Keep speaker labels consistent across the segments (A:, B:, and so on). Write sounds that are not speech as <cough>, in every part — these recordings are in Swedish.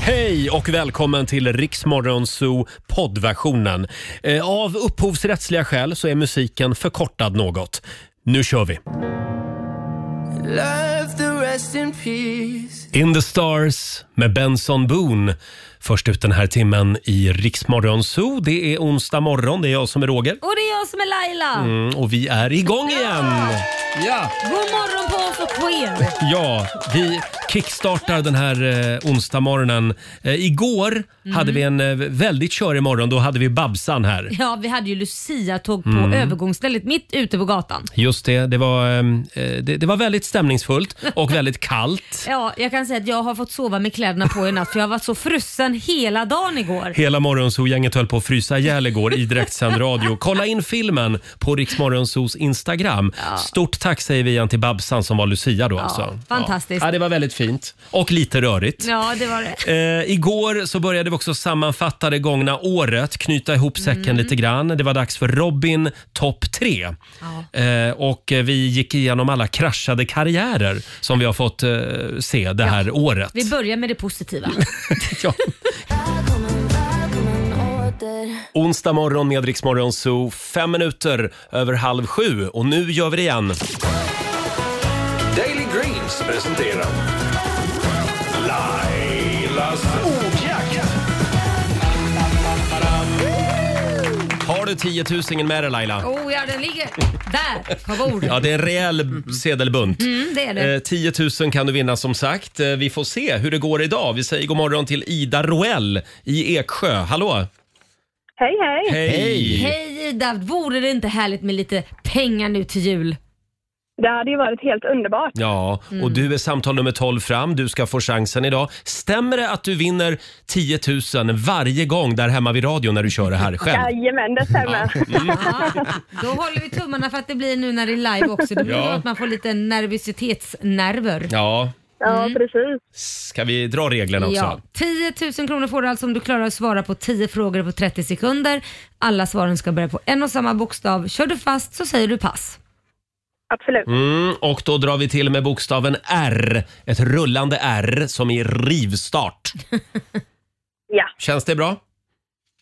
A: Hej och välkommen till Riksmorgon Zoo poddversionen. Eh, Av upphovsrättsliga skäl så är musiken förkortad något. Nu kör vi!
B: Love the rest in peace.
A: In the Stars med Benson Boone. Först ut den här timmen i Riksmorgon Zoo. Det är onsdag morgon, det är jag som är Roger.
C: Och det är jag som är Laila.
A: Mm, och vi är igång igen! Ja!
C: God morgon på oss och på er.
A: Ja, vi kickstartar den här eh, onsdagsmorgonen. Eh, igår hade vi en eh, väldigt körig morgon. Då hade vi Babsan här.
C: Ja, vi hade ju Lucia-tåg på
A: Mm.
C: övergångsstället mitt ute på gatan.
A: Just det, det var, ehm, eh, det, det var väldigt stämningsfullt och väldigt kallt.
C: Ja, jag kan säga att jag har fått sova med kläderna på i natt för jag har varit så frusen hela dagen igår.
A: Hela morgonsogänget höll på att frysa ihjäl igår i direktsänd <laughs> radio. Kolla in filmen på Riksmorgonsos Instagram.
C: Ja.
A: Stort tack säger vi igen till Babsan som var Lucia då.
C: Ja,
A: alltså.
C: fantastiskt.
A: Ja. Ja, det var väldigt fint och lite rörigt.
C: Ja, det var det.
A: Eh, igår så började vi också sammanfatta det gångna året, knyta ihop säcken lite grann. Det var dags för Robin topp tre. Eh, och eh, vi gick igenom alla kraschade karriärer som vi har fått eh, se det här året. <laughs>
C: Vi börjar med det positiva.
A: Onsdag morgon med Rix Morgon Zoo, fem minuter över halv sju och nu gör vi det igen.
D: Daily Greens presenterar Lailas ordjakt.
A: Har du tiotusingen med dig Laila?
C: Oh ja, den ligger där på bordet.
A: Ja, det är en rejäl sedelbunt.
C: Mm, det är det.
A: Eh, 10 000 kan du vinna som sagt. Eh, Vi får se hur det går idag. Vi säger god morgon till Ida Roell i Eksjö. Hallå!
E: Hej, hej!
A: Hej.
C: Hej Ida, vore det inte härligt med lite pengar nu till jul?
E: Det hade ju varit helt underbart.
A: Ja, och
C: Mm.
A: du är samtal nummer 12 fram. Du ska få chansen idag. Stämmer det att du vinner 10 000 varje gång där hemma vid radion när du kör det här själv?
E: Jajamän, det stämmer.
A: Mm.
C: Då håller vi tummarna för att det blir nu när det är live också. Det blir
A: Ja.
C: ja. att man får lite nervositetsnerver.
A: Ja,
E: Ja, precis.
A: ska vi dra reglerna också?
C: Ja, 10 000 kronor får du alltså om du klarar att svara på 10 frågor på 30 sekunder. Alla svaren ska börja på en och samma bokstav. Kör du fast så säger du pass.
E: Absolut.
A: Mm, och då drar vi till med bokstaven R. Ett rullande R som i rivstart.
E: Ja.
A: Känns det bra?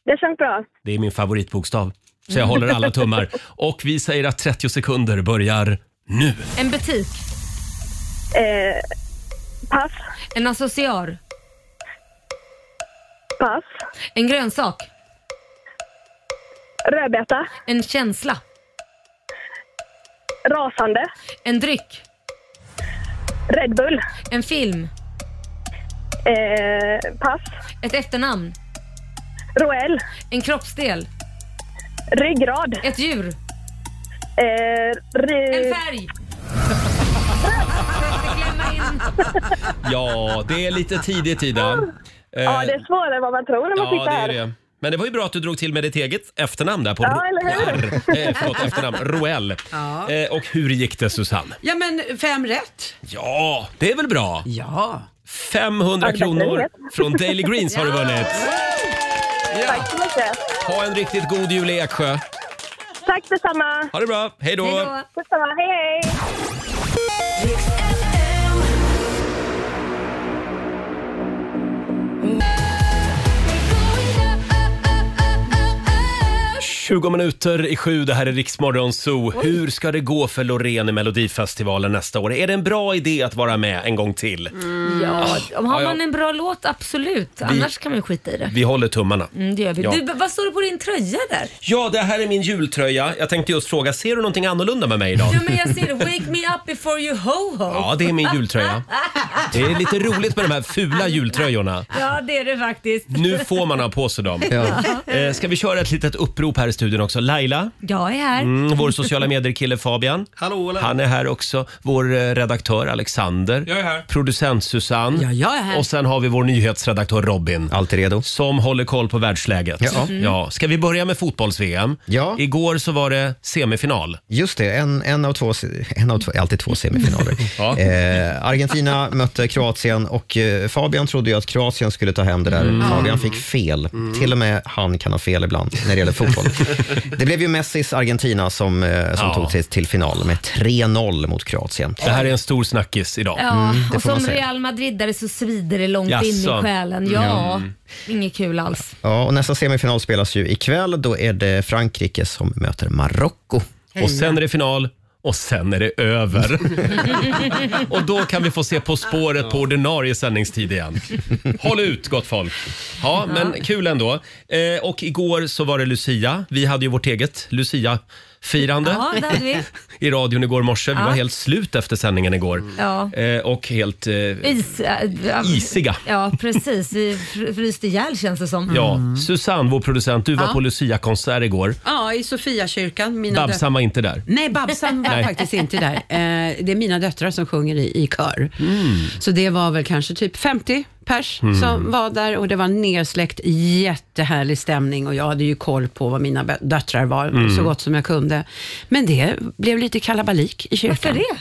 E: Det känns bra.
A: Det är min favoritbokstav. Så jag håller alla tummar. Och vi säger att 30 sekunder börjar nu.
C: En butik.
E: Eh, pass.
C: En associar.
E: Pass.
C: En grönsak.
E: Rödbeta.
C: En känsla.
E: Rasande.
C: En dryck.
E: Red Bull.
C: En film.
E: Eh, pass.
C: Ett efternamn.
E: Roel.
C: En kroppsdel.
E: Ryggrad.
C: Ett djur.
E: Eh,
C: En
E: ry-
A: <laughs>
C: färg. Glömma in.
A: Ja, det är lite tidigt Ida. Eh,
E: ja, det är svårare än vad man tror när man
A: ja,
E: sitter
A: det är
E: här.
A: det. Men det var ju bra att du drog till med ditt eget efternamn där på
E: Ja, eller hur?
A: R. Eh, förlåt, efternamn. Roel.
F: Ja.
A: Eh, och hur gick det Susanne?
F: Ja men fem rätt.
A: Ja, det är väl bra?
F: Ja.
A: 500
E: Ja, det är
A: kronor
E: rätt.
A: från Daily Greens har du vunnit.
E: Tack så mycket.
A: Ha en riktigt god jul i Eksjö.
E: Tack detsamma.
A: Ha det bra. Hej då.
C: Hej då.
E: Detsamma. Hej, hej.
C: Up,
A: 20 minuter i sju, det här är Riksmorgon Zoo. Hur ska det gå för Loreen i Melodifestivalen nästa år? Är det en bra idé att vara med en gång till?
C: Mm. Ja, om har
A: Ja, ja.
C: man en bra låt, absolut. Annars kan man ju skita i det.
A: Vi håller tummarna.
C: Mm, det gör vi.
A: Ja.
C: Du, vad står det på din tröja där?
A: Ja, det här är min jultröja. Jag tänkte just fråga, ser du någonting annorlunda med mig idag?
C: Ja, men jag ser det. Wake me up before you ho-ho.
A: Ja, det är min jultröja. Det är lite roligt med de här fula jultröjorna.
C: Ja, det är det faktiskt.
A: Nu får man ha på sig dem. Eh, Ska vi köra ett litet upprop här i studion också? Laila,
C: Jag är här.
A: mm, vår sociala medier-kille Fabian.
F: Hallå Ola.
A: Han är här också. Vår eh, redaktör Alexander.
G: Jag är här.
A: Producent Susanne.
F: Ja, jag är här.
A: Och sen har vi vår nyhetsredaktör Robin.
H: Alltid redo.
A: Som håller koll på världsläget. Mm.
H: Ja.
A: Ja. Ska vi börja med fotbolls-VM?
H: Ja.
A: Igår så var det semifinal.
H: Just det, en, en av två, en av två, alltid två semifinaler.
A: Ja.
H: eh, Argentina mötte
F: mötte Kroatien och eh, Fabian trodde ju att Kroatien skulle ta hem det där. Fabian fick fel. Till och med han kan ha fel ibland när det gäller fotboll. det blev ju Messis Argentina som, eh, som
A: Ja.
F: tog sig till final med 3-0 mot Kroatien.
A: Det här är en stor snackis idag.
C: Ja,
F: det
C: och
F: får man
C: som
F: säga.
C: Real Madridare så svider det långt in
A: Jaså? Mm.
C: i själen. Ja, inget kul alls.
F: Ja, och nästa semifinal spelas ju ikväll. Då är det Frankrike som möter Marocko.
A: Och sen är det final och sen är det
C: <laughs>
A: över. och då kan vi få se På spåret på ordinarie sändningstid igen. Håll ut gott folk. Ja, men kul ändå. Eh, och igår så var det Lucia. Vi hade ju vårt eget Lucia-firande.
C: Ja, det hade vi.
A: i radion igår morse. Vi
C: Ja.
A: var helt slut efter sändningen igår.
C: Ja.
A: Eh, och helt... Eh,
C: Is, äh, ja.
A: Isiga.
C: Ja, precis. Vi fr- fryste ihjäl känns det som.
A: ja. Susanne, vår producent, du var
G: Ja.
A: på Lucia-konsert igår.
G: Ja, i Sofiakyrkan. Mina dö-
A: Babsan var inte där.
G: Nej, Babsan
A: <laughs>
G: var
A: Nej.
G: faktiskt inte där. Eh, det är mina döttrar som sjunger i, i kör.
A: Mm.
G: Så det var väl kanske typ 50 pers som var där och det var nersläckt, jättehärlig stämning och jag hade ju koll på vad mina bö- döttrar var
A: Mm.
G: så gott som jag kunde. Men det blev lite kalabalik i kyrkan.
C: Varför det?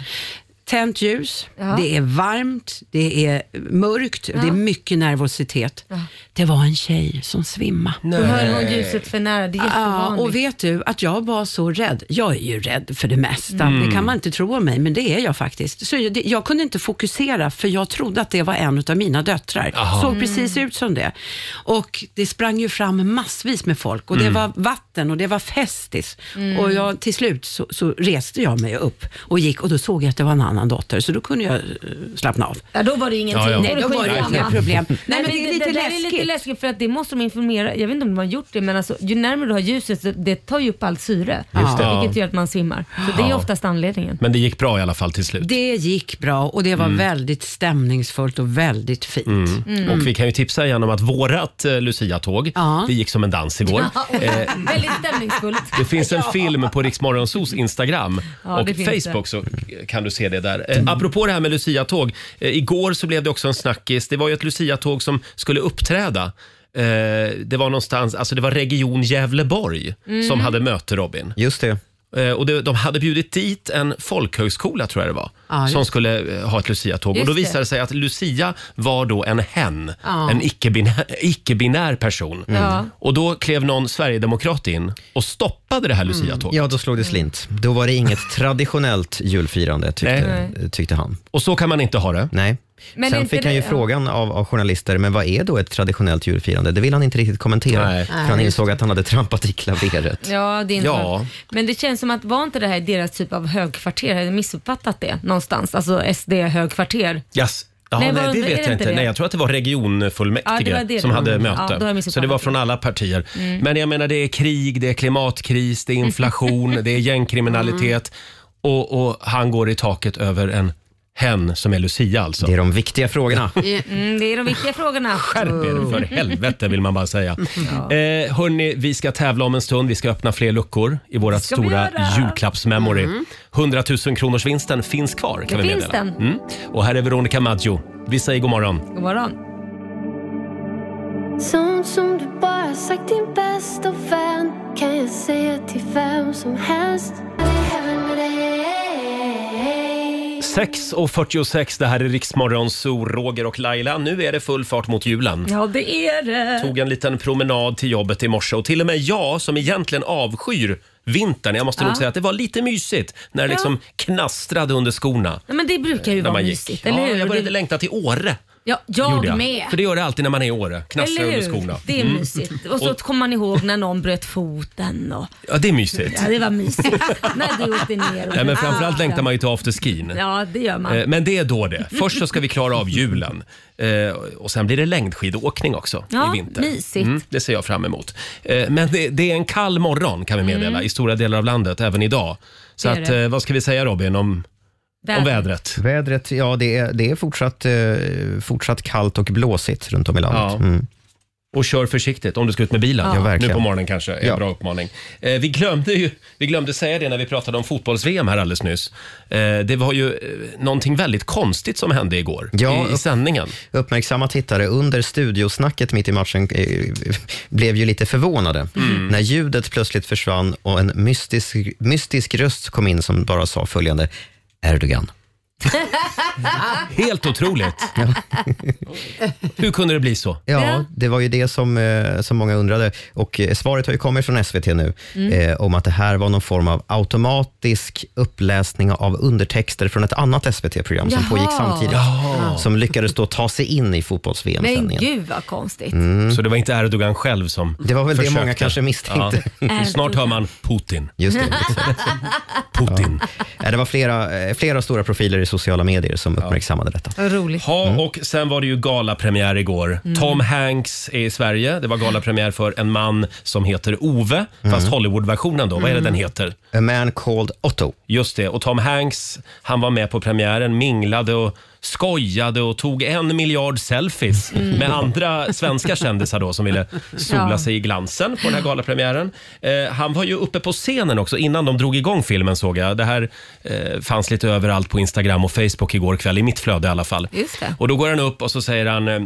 G: Tänt ljus,
C: Ja.
G: det är varmt, det är mörkt, det är mycket nervositet. Det var en tjej som svimmade.
C: Då höll hon ljuset för nära. Det är
G: Ja,
C: jättevanligt.
G: och vet du att jag var så rädd. Jag är ju rädd för det mesta. Det kan man inte tro om mig, men det är jag faktiskt. Så jag, det, jag kunde inte fokusera, för jag trodde att det var en av mina döttrar. Såg precis ut som det. Och det sprang ju fram massvis med folk och det var vatten och det var festis. Och jag, till slut så, så reste jag mig upp och gick och då såg jag att det var en annan dotter, så då kunde jag eh, slappna av.
C: Ja, då var det ju ingenting.
A: Ja, ja.
G: Nej, då var det
C: skitsamma.
G: inga problem. Nej, men det är lite
C: där är lite
G: läskigt.
C: läskigt för att det måste de informera. Jag vet inte om de har gjort det men alltså, ju närmare du har ljuset så det tar ju upp allt syre.
G: Just
A: det.
C: Vilket gör att man svimmar. Så det är oftast anledningen.
A: Men det gick bra i alla fall till slut.
G: Det gick bra och det var
A: Mm.
G: väldigt stämningsfullt och väldigt fint.
C: Mm.
A: Och vi kan ju tipsa igen om att vårat eh, Lucia-tåg,
G: Ja.
A: det gick som en dans igår. Eh,
C: <laughs> Väldigt stämningsfullt.
A: <laughs> det finns
C: <laughs>
A: en film på Riksmorgonsos Instagram
C: Ja,
A: och
C: det finns
A: Facebook så kan du se det där. Eh, apropå det här med Lucia-tåg. Eh, igår så blev det också en snackis. Det var ju ett Lucia-tåg som skulle uppträda. Eh, det var någonstans, alltså det var Region Gävleborg
C: Mm.
A: som hade möte Robin.
F: Just det.
A: Eh, Och det, de hade bjudit dit en folkhögskola, tror jag det var,
G: Ja, just
A: som skulle eh, ha ett Lucia-tåg. Och
C: Just
A: då
C: det.
A: visade det sig att Lucia var då en hen,
G: Ja.
A: en icke-binär, icke-binär person.
C: Ja.
A: Och då klev någon sverigedemokrat in och stoppade det här Lucia-tåget.
F: Ja, då slog det slint. Då var det inget traditionellt julfirande, tyckte, tyckte han.
A: Och så kan man inte ha det.
F: Nej.
C: Men är
F: Sen
C: inte
F: fick han
C: det-
F: ju
C: ja.
F: frågan av, av journalister, men vad är då ett traditionellt julfirande? Det vill han inte riktigt kommentera,
A: Nej.
F: för han insåg att han hade trampat i klaveret.
C: Ja, det är inte
A: Ja.
C: Men det känns som att var inte det här deras typ av högkvarter? Har jag missuppfattat det någonstans? Alltså SD högkvarter.
A: Yes. Ja,
C: Nej,
A: nej,
C: vad-
A: det
C: är
A: vet
C: det
A: jag
C: inte
A: inte.
C: det?
A: Nej, jag tror att det var regionfullmäktige
C: Ja, det var det
A: som
C: det
A: hade
C: var. Ja, då
A: möte.
C: har jag missuppfattat
A: så det var
C: det. Mm.
A: från alla partier. Men jag menar, det är krig, det är klimatkris, det är
C: <laughs>
A: inflation, det är gängkriminalitet
C: Mm.
A: och, och han går i taket över en hen som är Lucia alltså.
F: Det är de viktiga frågorna.
C: Mm, det är de viktiga frågorna.
A: Skärp er
C: Oh.
A: för helvete vill man bara
C: <laughs>
A: säga. Eh, hörni, vi ska tävla om en stund. Vi ska öppna fler luckor i vårt
C: ska vi
A: stora
C: göra.
A: julklappsmemory. 100 000 kronors vinsten finns kvar kan
C: Det
A: vi
C: finns
A: meddela.
C: den.
A: Mm. Och här är Veronica Maggio. Vi säger god morgon.
C: God morgon.
H: Sånt som du bara sagt din bästa vän kan jag säga till vem som helst. Det är heaven med dig.
A: 6.46, det här är Riksmorgon, Zoo, Roger och Laila. Nu är det full fart mot julen.
C: Ja, det är det.
A: Tog en liten promenad till jobbet i morse och till och med jag som egentligen avskyr vintern, jag måste nog säga att det var lite mysigt när det liksom knastrade under skorna.
C: Nej, men det brukar ju
A: När
C: vara
A: man
C: mysigt,
A: gick.
C: eller
A: Ja,
C: hur?
A: jag började
C: Det-
A: längta till Åre.
C: ja,
A: gjorde
C: jag,
A: jag.
C: med.
A: För det gör det alltid när man är i Åre. Knastrar
C: Eller
A: under
C: hur?
A: skorna.
C: Det är mysigt. Och så
A: Och-
C: kommer man ihåg när någon bröt foten och
A: Ja, det är mysigt.
C: ja, det
A: <laughs>
C: var mysigt. när du åkte ner. och-
A: Nej, men framförallt
C: Ah.
A: längtar man ju till afterskin.
C: Ja, det gör man.
A: Eh, Men det är då det. Först så ska vi klara av julen. Eh, Och sen blir det längdskidåkning också
C: Ja,
A: i vinter. Mm,
C: mysigt.
A: det ser jag fram emot. Eh, Men det, det är en kall morgon kan vi meddela i stora delar av landet även idag. Så
C: Mm. Det är
A: att,
C: det.
A: eh, vad ska vi säga Robin om, om vädret?
F: Vädret, ja det är, det är fortsatt, eh, fortsatt kallt och blåsigt runt om i landet.
A: Ja.
F: Mm.
A: Och kör försiktigt om du ska ut med bilen.
F: Ja, verkligen.
A: nu på morgonen kanske. är En
F: Ja.
A: bra uppmaning. Eh, vi, glömde ju, vi glömde säga det när vi pratade om fotbolls-VM här alldeles nyss. Eh, det var ju eh, någonting väldigt konstigt som hände igår
F: Ja,
A: i, i sändningen.
F: Uppmärksamma tittare under studiosnacket mitt i matchen eh, blev ju lite förvånade
C: Mm.
F: när ljudet plötsligt försvann och en mystisk, mystisk röst kom in som bara sa följande Erdogan.
A: Helt otroligt. Hur kunde det bli så?
F: Ja,
C: Ja.
F: det var ju det som, eh, som många undrade. Och eh, Svaret har ju kommit från SVT nu
C: Mm.
F: eh, om att det här var någon form av automatisk uppläsning av undertexter från ett annat SVT-program som
C: Jaha.
F: pågick samtidigt. Som lyckades då ta sig in i
C: Men
F: fotbolls-VM-sändningen.
C: gud vad konstigt.
A: Så det var inte Erdogan själv som
F: Mm. Det var väl det
A: försökte.
F: många kanske misstänkte.
A: Ja. <laughs> Snart hör man Putin.
F: <laughs> Just
C: <laughs>
F: det. exakt.
A: Putin.
F: Eh, Det var flera, eh, flera stora profiler i sociala medier som uppmärksammade detta.
C: Vad roligt.
A: Ja,
F: Mm.
A: och sen var det ju galapremiär igår. Tom Hanks är i Sverige. Det var galapremiär för En man som heter Ove, fast
F: Mm.
A: Hollywoodversionen då. Vad är det den heter?
F: A man called Otto.
A: Just det. Och Tom Hanks, han var med på premiären, minglade och skojade och tog en miljard selfies med andra svenska kändisar då som ville sola
C: Mm. Ja.
A: sig i glansen på den här galapremiären. Eh, han var ju uppe på scenen också innan de drog igång filmen såg jag. Det här eh, fanns lite överallt på Instagram och Facebook igår kväll, i mitt flöde i alla fall.
C: Just det.
A: Och då går han upp och så säger han eh,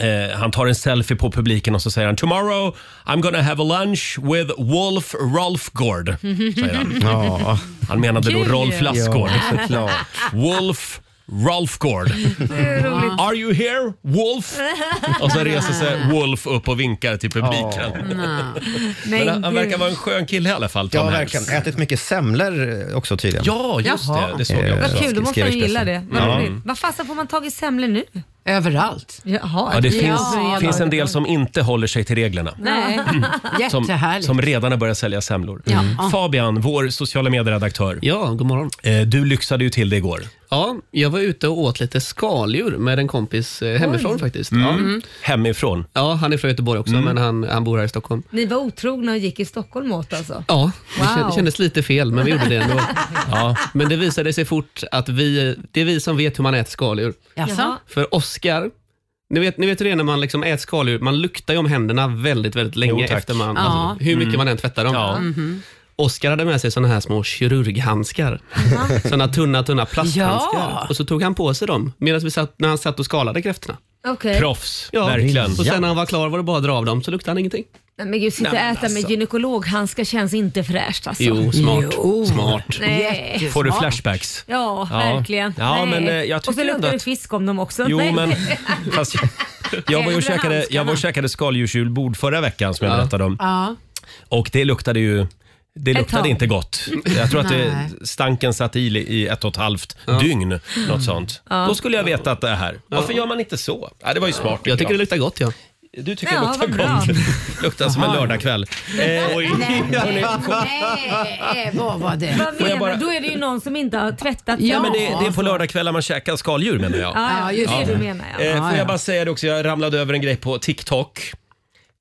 A: Eh, han tar en selfie på publiken och så säger han “Tomorrow I'm gonna have a lunch with Wolf
C: <laughs>
A: Rolfgård”. säger han.
F: Ja,
A: Han menade då
C: Kul.
A: Rolf Lassgård.
F: såklart.
A: Wolf
C: <laughs>
A: Rolfgård. Are you here, Wolf? Och så reser sig
C: <laughs>
A: Wolf upp och vinkar till publiken.
C: Men
A: Men han, han verkar
C: gud.
A: vara en skön kille i alla fall,
F: Ja,
A: Tom Hanks.
F: verkligen. Ätit mycket semlor eh, också tydligen.
A: Ja, just
G: Jaha.
A: det. Det såg jag
F: Eh,
A: också.
C: Vad kul, då måste
F: Skrev
C: han ju gilla det.
F: Expressen.
C: Vad roligt. Vad fasen får man tag i semlor nu?
G: Överallt.
C: Jaha,
A: Ja, det
C: är
A: finns,
C: så jävla-
A: finns en del Mm. som inte håller sig till reglerna. <laughs>
C: Nej.
A: Som,
G: Jättehärligt.
A: som redan har börjat sälja semlor. Mm. Fabian, vår sociala medieredaktör.
I: Ja, god morgon.
A: eh, Du lyxade ju till det igår.
I: Ja, jag var ute och åt lite skaldjur med en kompis eh, hemifrån faktiskt. Ja.
A: Hemifrån.
I: ja, han är från Göteborg också, men han, han bor här i Stockholm.
C: Ni var otrogna och gick i Stockholm åt alltså?
I: Ja, det
C: Wow.
I: kän- kändes lite fel, men vi gjorde det ändå. Ja, men det visade sig fort att vi, det är vi som vet hur man äter skaldjur.
G: Jaså?
I: För Oscar, ni vet, ni vet hur det är när man liksom äter skaldjur, man luktar ju om händerna väldigt, väldigt länge
A: tack. Mm.
I: efter man,
G: Ja.
I: alltså, hur mycket man än tvättar dem.
A: Ja.
C: Mm-hmm.
I: Oscar hade med sig såna här små kirurghandskar. Såna tunna, tunna plasthandskar.
G: Ja.
I: Och så tog han på sig dem medan vi satt, när han satt och skalade kräftorna.
C: Okej.
A: Proffs, verkligen.
I: Och sen när han var klar var det bara att dra av dem, så luktade han ingenting.
C: Nej, Men gud, sitta och äta
A: alltså.
C: med gynekologhandskar känns inte fräscht alltså.
I: Jo, smart. Smart.
C: Nej.
A: Får du flashbacks?
C: Ja,
A: Ja.
C: verkligen.
A: Ja,
C: Nej.
A: men, eh, jag
C: och så
A: tycker ändå
C: luktar det
A: att-
C: fisk om dem också.
A: Jo,
C: Nej.
A: men... Fast, jag, var ju och
C: Äldre
A: käkade, jag var och
C: handskarna.
A: käkade skaldjursjulbord förra veckan som jag
I: Ja.
A: berättade om.
G: Ja.
A: Och det luktade ju... Det
C: tag.
A: luktade inte gott. Jag tror att det,
G: Nej.
A: stanken satt i i ett och ett halvt dygn. Något sånt. Då skulle jag veta att det är här. Varför gör man inte så? Ja, det var ju smart.
I: Jag tycker det luktar gott, ja.
A: Du tycker
C: Ja,
A: det luktar
C: vad bra.
A: gott. <laughs> luktar som en lördagkväll. Eh, hörni,
G: Nej, Eh, vad var det?
C: <laughs> Vad menar du?
A: bara-
C: Då är det ju någon som inte har tvättat
G: Ja,
C: dem.
A: men det, det är på lördagkvällar man käkar skaldjur menar jag.
C: Ja,
G: Ja,
C: ja,
G: just
C: just det.
G: det.
C: du menar jag.
A: Eh,
G: Ja,
A: får
G: ja.
A: jag bara säga det också, jag ramlade över en grej på TikTok.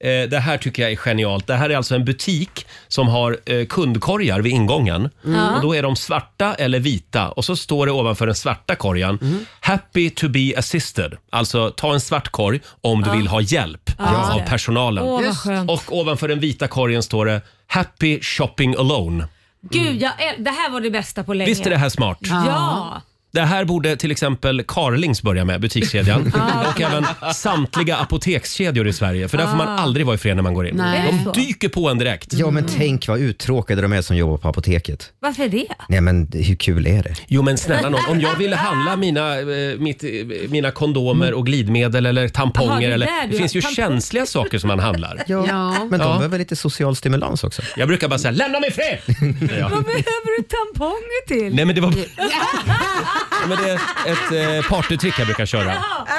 A: Eh, det här tycker jag är genialt. Det här är alltså en butik som har eh, kundkorgar vid ingången.
C: Mm.
A: Och Då är de svarta eller vita och så står det ovanför den svarta korgen
C: Mm.
A: “Happy to be assisted”. Alltså ta en svart korg om du vill ha hjälp av personalen.
C: Åh, vad
G: Just.
C: skönt.
A: Och ovanför den vita korgen står det “Happy shopping alone”.
C: Gud, jag, äl- det här var det bästa på länge.
A: Visst är det här smart?
C: Ja.
A: Det här borde till exempel Carlings börja med,
C: <laughs>
A: butikskedjan.
C: Ah,
A: och även samtliga apotekskedjor i Sverige. För där får man aldrig vara i fred när man går in.
G: Nej.
C: Är det Ah. så?
A: De dyker på en direkt.
F: Ja, men tänk vad uttråkade de är som jobbar på apoteket.
A: <laughs>
C: Varför det?
F: Nej, men hur kul är det?
A: Jo men snälla nån, om jag ville handla mina, eh, mitt, eh, mina kondomer och glidmedel eller tamponger.
C: Jaha, det är
A: eller,
C: där du-
A: det finns ju
C: tampong-
A: känsliga saker som man handlar.
G: Ja.
F: Men de
A: Ja.
F: behöver lite social stimulans också.
A: Jag brukar bara säga “lämna mig i fred!” ja.
C: Vad behöver du tamponger till?
A: Nej men det var... Ja, men det är ett eh, partytrick jag brukar köra.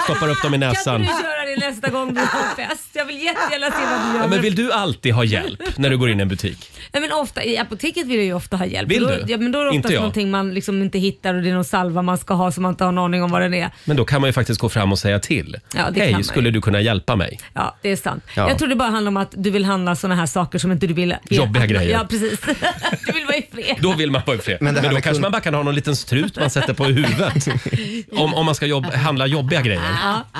A: Stoppar upp dem i
C: Kan
A: näsan.
C: inte du göra det nästa gång du har fest? Jag vill jättegärna se vad du gör.
A: alltså. Ja, men
C: men
A: vill du alltid ha hjälp när du går in i en butik?
C: Nej, men ofta, I apoteket vill jag ju ofta ha hjälp.
A: Vill
C: då,
A: du?
C: Ja, men då är det
A: Inte
C: oftast
A: jag.
C: någonting man liksom inte hittar och det är någon salva man ska ha som man inte har en aning om vad den är.
A: Men då kan man ju faktiskt gå fram och säga till.
C: Ja, det kan man
A: Hej,
C: ju.
A: skulle du kunna hjälpa mig?
C: Ja, det är sant.
F: Ja.
C: Jag tror det bara handlar om att du vill handla såna här saker som inte du vill...
A: Jobbiga grejer.
C: Ja, precis. <laughs> Du vill vara i fred.
A: Då vill man vara ifred. Men,
F: Men det här
A: då
F: med
A: kanske
F: kund-
A: man bara kan ha någon liten strut man sätter på
C: <laughs>
A: huvudet. om, om man ska jobb, handla jobbiga grejer.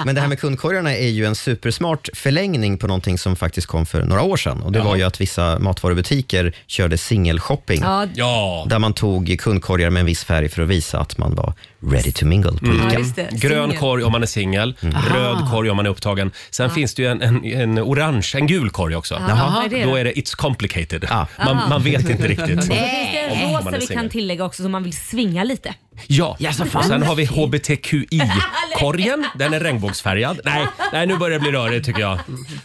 F: Men det här med kundkorgarna är ju en supersmart förlängning på någonting som faktiskt kom för några år sedan. Och det var ju att vissa matvarubutiker körde singelshopping.
C: Ja,
A: Ja,
F: Där man tog kundkorgar med en viss färg för att visa att man var ready to mingle på
C: ja,
F: ICA.
C: just det.
A: grön
C: Singel. Mm.
A: korg om man är singel, röd korg om man är upptagen. Sen finns det ju en, en, en orange, en gul korg också.
C: Jaha. vad är det då?
A: Då är det It's complicated.
F: Ah.
A: Man, man vet inte riktigt.
C: Då finns det
A: Om
C: en
A: man är
C: rosa vi
A: singel.
C: kan tillägga också som man vill svinga lite.
A: Ja,
G: Ja, så fan.
A: och sen har vi
C: <laughs>
A: HBTQI-korgen. Den är regnbågsfärgad. Nej, nej, nu börjar det bli rörigt tycker jag.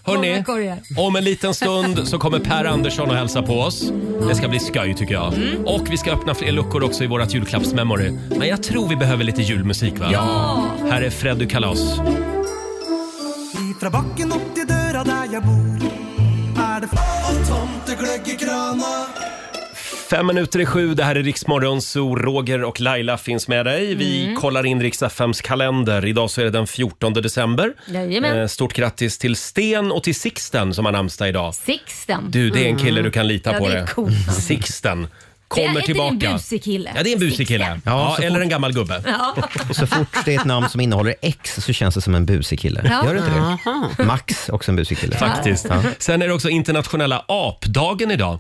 A: Hörni,
C: Många korgar.
A: om en liten stund så kommer Per Andersson och hälsa på oss. Det ska bli skoj tycker jag.
C: Mm.
A: Och vi ska öppna fler luckor också i vårat julklappsmemory. Men jag tror vi behöver lite julmusik va? Ja! Här är Freddy Kalas.
B: Ifra bakken opp til døra der jeg bor, er det flott. Og tomtegløgg i krana.
A: Fem minuter i sju, det här är Riksmorgon, så Roger och Laila finns med dig. Vi
C: Mm.
A: kollar in Riks-FMs kalender. Idag så är det den 14 december.
C: Jajamän.
A: Eh, Stort grattis till Sten och till Sixten som har namnsdag idag.
C: Sixten.
A: Du, det är en kille du kan lita
C: Mm. Ja,
A: på.
C: det är coolt. alltså.
A: Sixten.
C: Det är-
A: Kommer
C: är inte det
A: tillbaka.
C: en busig kille?
A: Ja, det är en busig
C: Sixten.
A: kille.
F: Ja,
A: Ja,
F: så
A: eller en gammal gubbe.
F: Så fort det är ett namn som innehåller X så känns det som en busig kille.
C: Ja.
F: Gör det inte det? Max, också en busig kille.
A: Faktiskt.
F: Ja.
A: Sen är det också internationella apdagen idag.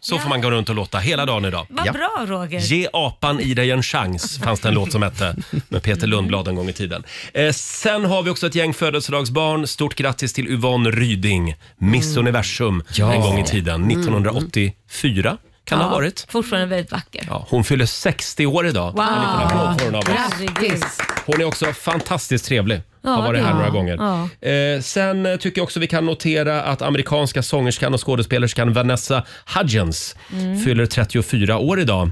A: Så får man gå runt och låta hela dagen idag.
C: Vad
F: Ja.
C: bra Roger.
A: Ge apan i dig en chans, fanns det en låt som hette med Peter Lundblad en gång i tiden. Eh, sen har vi också ett gäng födelsedagsbarn. Stort grattis till Yvonne Ryding, Miss Universum en gång i tiden. 1984 kan det ha varit.
C: Fortfarande väldigt vacker.
A: Ja, hon fyller 60 år idag.
C: Wow.
A: En liten applåd får hon av oss.
C: Grattis.
A: Hon är också fantastiskt trevlig.
C: Ja,
A: har varit
C: det är
A: här några
C: hon.
A: gånger. Eh, sen eh, tycker jag också vi kan notera att amerikanska sångerskan och skådespelerskan Vanessa Hudgens
C: Mm.
A: fyller 34 år idag.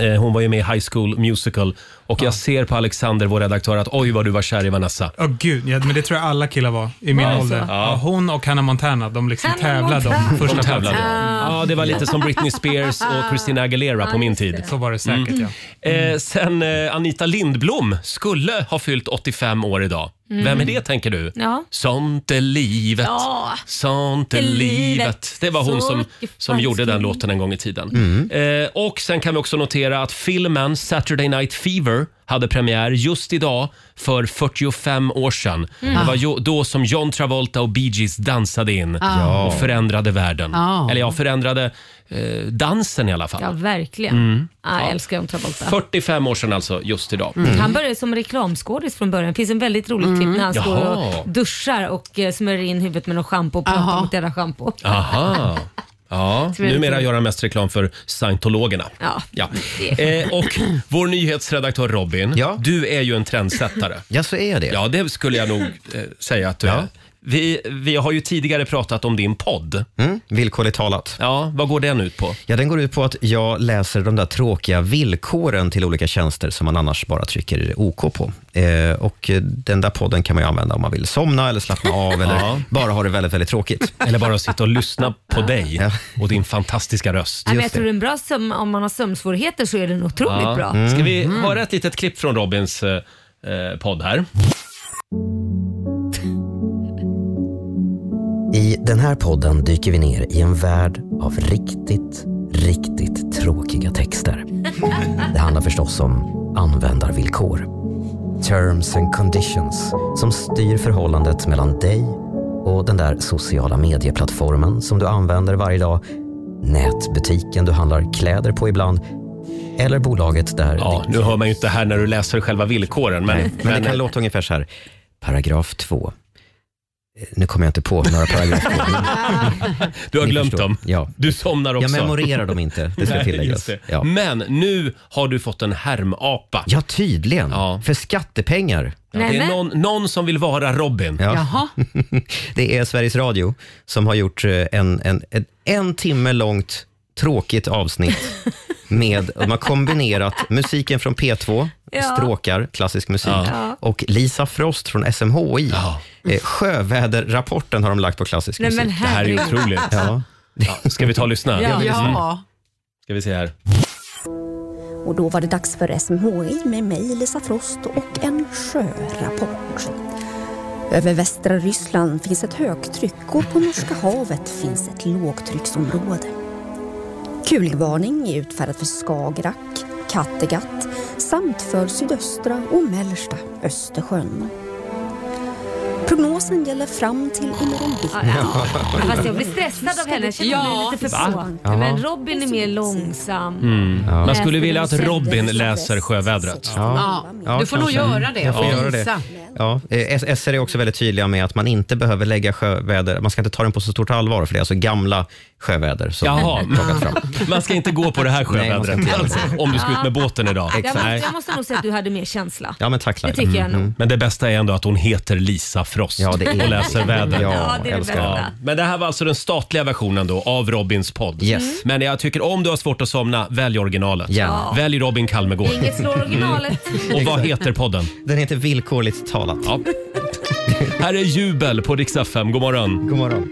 A: Eh, hon var ju med i High School Musical och jag ser på Alexander, vår redaktör, att oj vad du var kär i Vanessa.
J: Ja, gud. Ja, men det tror jag alla killar var i min
C: det
J: ålder.
C: så?
J: Ja, hon och Hannah Montana, de liksom
C: Hannah
J: tävlade
C: Montana.
J: om
A: De
J: första
A: tävlade.
J: tävlingen.
A: Ja, det var lite som Britney Spears och Christina Aguilera på min tid.
J: Så var det säkert,
C: Mm.
J: ja.
A: Eh, sen eh, Anita Lindblom skulle ha fyllt 85 år idag.
C: Mm.
A: Vem är det tänker du?
C: Ja.
A: Sånt är livet.
C: Ja.
A: Sånt är
C: Det är
A: livet.
C: livet.
A: Det var hon
C: Så
A: som,
C: mycket
A: som gjorde
C: falsk-
A: den låten en gång i tiden. Eh, och sen kan vi också notera att filmen Saturday Night Fever hade premiär just idag för 45 år sedan.
C: Mm.
A: Det var ju, då som John Travolta och Bee Gees dansade in
C: Ah.
A: och förändrade världen.
G: Ah.
A: Eller ja, förändrade eh, dansen i alla fall.
C: Ja, verkligen.
A: Mm.
C: Ah, jag älskar John Travolta.
A: 45 år sedan alltså, just idag.
C: Han började som reklamskådis från början. Det finns en väldigt rolig klipp när han står
A: Mm. Jaha.
C: och duschar och eh, smörjer in huvudet med någon schampo och
G: Aha.
C: pratar mot jävla schampo.
A: Aha. Ja,
C: <laughs> Tror jag
A: numera
C: det.
A: gör han mest reklam för scientologerna.
C: Ja, det.
A: Eh, och vår nyhetsredaktör Robin,
F: Ja.
A: du är ju en trendsättare.
F: Ja, så är jag det.
A: Ja, det skulle jag nog eh, säga att du är. Vi, vi har ju tidigare pratat om din podd.
F: Mm, villkorligt talat.
A: Ja, vad går den ut på?
F: Ja, den går ut på att jag läser de där tråkiga villkoren till olika tjänster som man annars bara trycker OK på. Eh, och eh, den där podden kan man ju använda om man vill somna eller slappna av eller bara ha det väldigt, väldigt tråkigt.
A: Eller bara sitta och lyssna på dig
F: Ja.
A: och din fantastiska röst.
C: Nej, men jag
F: Just
C: tror
F: det.
C: det är en bra sömn, om man har sömnsvårigheter så är den otroligt bra.
A: Ska vi
F: Mm.
A: höra ett litet klipp från Robins eh, eh, podd här?
F: I den här podden dyker vi ner i en värld av riktigt, riktigt tråkiga texter. Det handlar förstås om användarvillkor. Terms and conditions som styr förhållandet mellan dig och den där sociala medieplattformen som du använder varje dag, nätbutiken du handlar kläder på ibland eller bolaget där
A: Ja, nu hör man ju inte här när du läser själva villkoren, men,
F: Nej, men det kan låta ungefär så här. Paragraf 2. Nu kommer jag inte på några paragrafer.
A: du har
F: Ni
A: glömt
F: förstår.
A: dem.
F: Ja.
A: Du somnar också.
F: Jag memorerar dem inte, det
A: <laughs>
F: ska
A: Nej, just
F: tilläggas.
A: det.
F: Ja.
A: Men nu har du fått en härmapa.
F: ja, tydligen.
A: Ja.
F: För skattepengar.
A: Det är
C: Nämen.
A: någon, någon som vill vara Robin.
F: Ja.
G: Jaha.
F: <laughs> Det är Sveriges Radio som har gjort eh, en, en, en, en timme långt tråkigt avsnitt
C: <laughs>
F: med, de har kombinerat musiken från P2,
C: Ja.
F: stråkar, klassisk musik, och Lisa Frost från SMHI.
A: Ja.
F: Eh, Sjöväderrapporten har de lagt på klassisk
C: Nej,
F: musik.
C: men
A: Det här är ju
C: herregud.
A: otroligt.
F: Ja.
A: Ja, ska vi ta och lyssna? Mm.
C: Ja.
G: Ja.
A: Ska vi se här.
E: Och då var det dags för SMHI med mig, Lisa Frost och en sjörapport. Över västra Ryssland finns ett högtryck och på Norska havet finns ett lågtrycksområde. Kulvarning är utfärdad för Skagerrak, Kattegatt samt för sydöstra och mellersta Östersjön. Prognosen gäller fram till imorgon bitti.
A: <laughs>
C: Ja. Fast jag blir stressad av henne. Jag känner mig lite för på.
A: Ja.
C: Men Robin är mer långsam.
A: Mm. Man
C: Läser
A: skulle vilja
C: du
A: att
C: sen?
A: Robin läser sjövädret.
G: Ja. Du får nog
A: kanske.
G: göra det
A: Jag får
G: och
A: göra
F: det.
G: visa.
F: Ja, eh, S- SR är också väldigt tydliga med att man inte behöver lägga sjöväder, man ska inte ta den på så stort allvar för det är alltså gamla sjöväder som
A: Jaha.
F: Jaha. plockat fram.
A: <laughs> Man ska inte gå på det här
F: Nej, man ska
A: sjövädret
F: inte göra det.
A: alltså, om du ska ut med båten idag.
C: Jag måste, jag måste nog säga att du hade mer känsla.
A: Ja, Mm. men tack
C: Laila. Det tycker jag nog.
A: Men det bästa är ändå att hon heter Lisa Frost
F: Mm. Ja, det är-
A: <laughs> och läser väder.
F: Ja, Ja, det är det älskar det. bästa.
A: Men det här var alltså den statliga versionen då av Robins podd.
F: Yes. Mm.
A: Men jag tycker om du har svårt att somna, välj originalet.
F: Ja.
A: Välj Robin Kalmegård.
C: Inget slår originalet.
A: Mm. Och vad heter podden?
F: Den heter Villkorligt talat.
A: Ja. Här är Jubel på Rix FM. God morgon.
F: God morgon.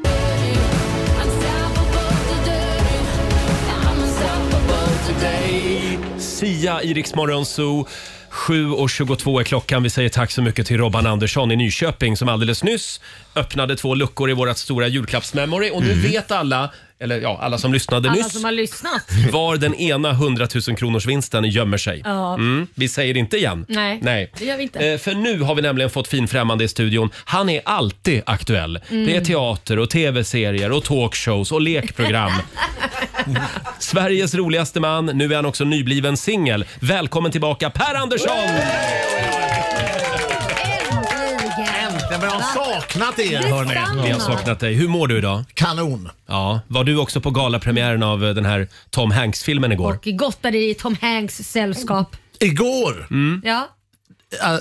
A: Sia i Rix Morgon Zoo. 7.22 är klockan. Vi säger tack så mycket till Robban Andersson i Nyköping som alldeles nyss öppnade två luckor i vårt stora julklappsmemory. Och nu vet alla, eller ja, alla som lyssnade
C: Alla
A: nyss,
C: som har lyssnat.
A: <laughs> var den ena 100 000 kronors vinsten gömmer sig.
C: Ja.
A: Mm, vi säger inte igen.
C: Nej,
A: Nej.
C: det gör vi inte.
A: Eh, För nu har vi nämligen fått fin främmande i studion. Han är alltid aktuell.
C: Mm.
A: Det är teater och tv-serier och talkshows och
C: <laughs>
A: lekprogram. Sveriges roligaste man. Nu är han också nybliven singel. Välkommen tillbaka Per Andersson!
K: Äntligen! Men jag har saknat er hörni.
A: Vi har saknat dig. Hur mår du idag?
K: Kanon.
A: Ja, var du också på galapremiären av eh, den här Tom Hanks-filmen igår?
C: Och gottade i Tom Hanks sällskap.
K: Igår?
I: Mm.
A: Mm.
C: Ja.
K: Eh,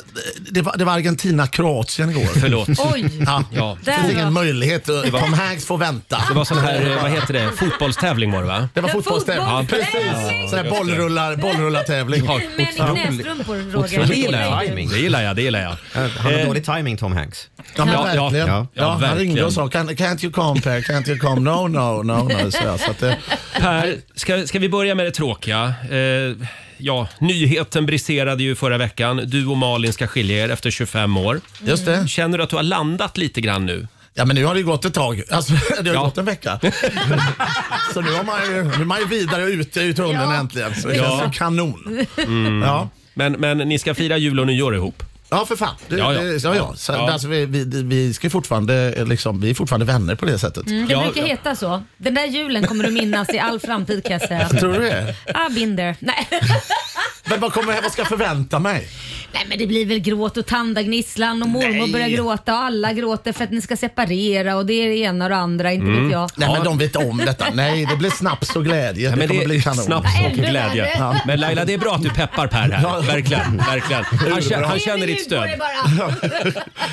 K: Det var, det var Argentina-Kroatien igår.
C: <laughs>
A: Förlåt.
C: Oj.
K: Ja.
A: <laughs> Ja.
K: Det finns
C: Där var-
K: ingen möjlighet.
A: var-
K: Tom Hanks får vänta.
A: Det var sån här, eh, vad heter det, fotbollstävling var det va?
K: Det var
C: Det var
K: fotbollstävling.
C: fotboll-
K: Precis.
C: tävling.
K: Sån här bollrullar, bollrullartävling.
A: Ja,
C: Men i knästrumpor Roger.
A: Otroligt. Det gillar jag. Det gillar jag. Det gillar jag.
F: Han har
A: Eh,
F: dålig timing Tom Hanks.
K: Ja, men
A: Ja, ja,
K: verkligen.
A: ja,
K: Ja,
A: ja,
K: han ringde
A: verkligen.
K: och sa "Can- “Can't you come Per, can't you come?” “No, no, no, no”. Så jag, så att det,
A: Per, ska, ska vi börja med det tråkiga? Eh, ja, nyheten briserade ju förra veckan. Du och Malin ska skilja er efter 25 år.
K: Just det.
A: Känner du att du har landat lite grann nu?
K: Ja men nu har det ju gått ett tag. Alltså, <laughs> det har ju
A: Ja.
K: gått
A: <laughs>
K: en vecka. så nu, har man ju, nu är man ju vidare och ute i tunneln äntligen. Så det
A: Ja.
K: känns ju kanon. Ja.
A: Men, men ni ska fira jul och nyår ihop.
K: ja, för fan. Det,
A: Ja,
K: ja,
A: ja.
K: ja. Det, ja, ja. Så,
A: Ja.
K: Alltså, vi, vi, vi, ska ju fortfarande, eh, liksom, vi är fortfarande vänner på det sättet.
C: Mm, det
A: Ja,
C: brukar
A: ja.
C: heta så. Den där julen kommer du minnas i all framtid kan jag säga.
K: Tror du det?
C: I've been there. Nej.
K: Men vad kommer jag, vad ska jag förvänta mig?
C: Nej men det blir väl gråt och tandagnisslan och mormor
K: Nej.
C: börjar gråta och alla gråter för att ni ska separera och det är det ena och det andra, inte vet jag.
K: Nej men de vet om detta. Nej, det blir snaps och glädje.
A: Ja,
K: det
A: men
K: kommer bli kanon.
A: snaps
C: Ja,
A: och
C: ännu
A: glädje.
C: värre.
A: Ja. Men Laila, det är bra att du peppar Per här.
K: Ja.
A: Verkligen. verkligen. Han, kä-
K: bra.
A: han känner ditt stöd.
C: Det bara.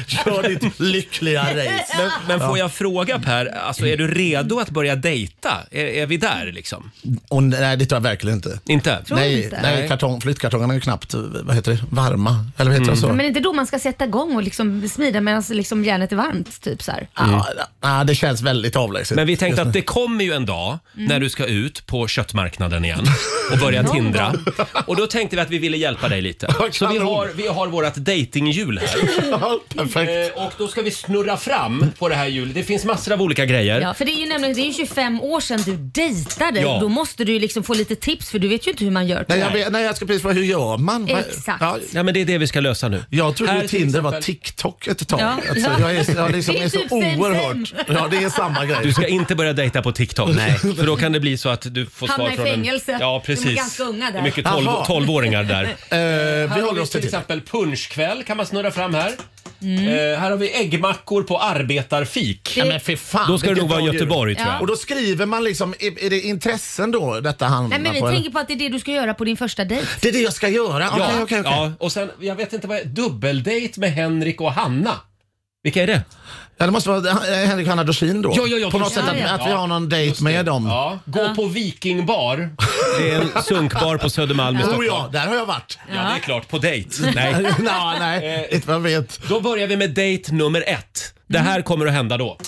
K: <laughs> Kör ditt lyckliga race.
A: Men, men får jag fråga Per, alltså, är du redo att börja dejta? Är, är vi där liksom?
K: Och nej, det tror jag verkligen inte.
A: Inte?
C: du
K: Nej,
C: inte?
K: nej kartong, flyttkartongerna är ju knappt vad heter det, varma. Eller vad heter det så?
C: Men inte då man ska sätta igång och liksom smida medan liksom järnet är varmt. Typ så här.
K: Ja, ja, det känns väldigt avlägset.
A: Men vi tänkte att det kommer ju en dag när du ska ut på köttmarknaden igen och börja tindra. Och då tänkte vi att vi ville hjälpa dig lite. Så vi har, vi har vårt dejtinghjul här.
K: <laughs> Ja, Perfekt.
A: Eh, Och då ska vi snurra fram på det här hjulet. Det finns massor av olika grejer.
C: Ja, för det är ju nämligen det är ju 25 år sedan du dejtade.
A: Ja.
C: Då måste du ju liksom få lite tips för du vet ju inte hur man gör.
K: Nej, jag, vet- nej, jag ska precis fråga, hur gör man? Vad-
C: Exakt.
K: Ja,
A: Ja, men det är det vi ska lösa nu.
K: jag trodde
A: Här
K: ju
A: till
K: Tinder var
A: exempel-
K: TikTok ett tag.
C: Ja.
K: Alltså, jag är, jag liksom
C: Det är
K: är så
C: typ same,
K: oerhört... Ja, det är samma grej.
A: Du ska inte börja dejta på TikTok. Nej. För då kan det bli så att du får
C: Hamna
A: svar
C: i
A: från
C: fängelse.
A: En... Ja,
C: De är
A: precis.
C: ganska unga där.
A: Det är mycket
K: Jaha.
A: 12- 12-åringar där.
K: Eh, vi
A: Här har
K: håller oss till
A: till
K: Tinder.
A: exempel punschkväll kan man snurra fram här. Eh, här har vi äggmackor på arbetarfik.
K: Ja, men för fan,
A: Då ska det
K: vilket
A: nog vara i
K: dagdjur.
A: Göteborg tror
K: Och
A: jag.
K: då skriver man liksom, är, är det intressen då detta handlar
C: Nej, men vi
K: på? eller?
C: tänker på att det är det du ska göra på din första dejt.
K: Det är det jag ska göra? Okej, okej, okej.
A: ja, och sen, jag vet inte vad är, dubbeldate med Henrik och Hanna. Vilka är det?
K: Ja, det måste vara eh, Henrik och Hanna Dorsin då.
A: Ja, ja, ja,
K: på något
A: just
K: sätt
A: det.
K: att, att vi
A: Ja,
K: har någon dejt med dem.
A: Ja, gå på vikingbar. Det är en sunkbar på Södermalm i
K: Oh
A: Stockholm.
K: ja, där har jag varit. <laughs>
A: Ja, det är klart. På dejt. Nej.
K: Nej, nej,
A: Eh.
K: inte vad jag vet. Mm.
A: Då börjar vi med date nummer ett. Det här kommer att hända då.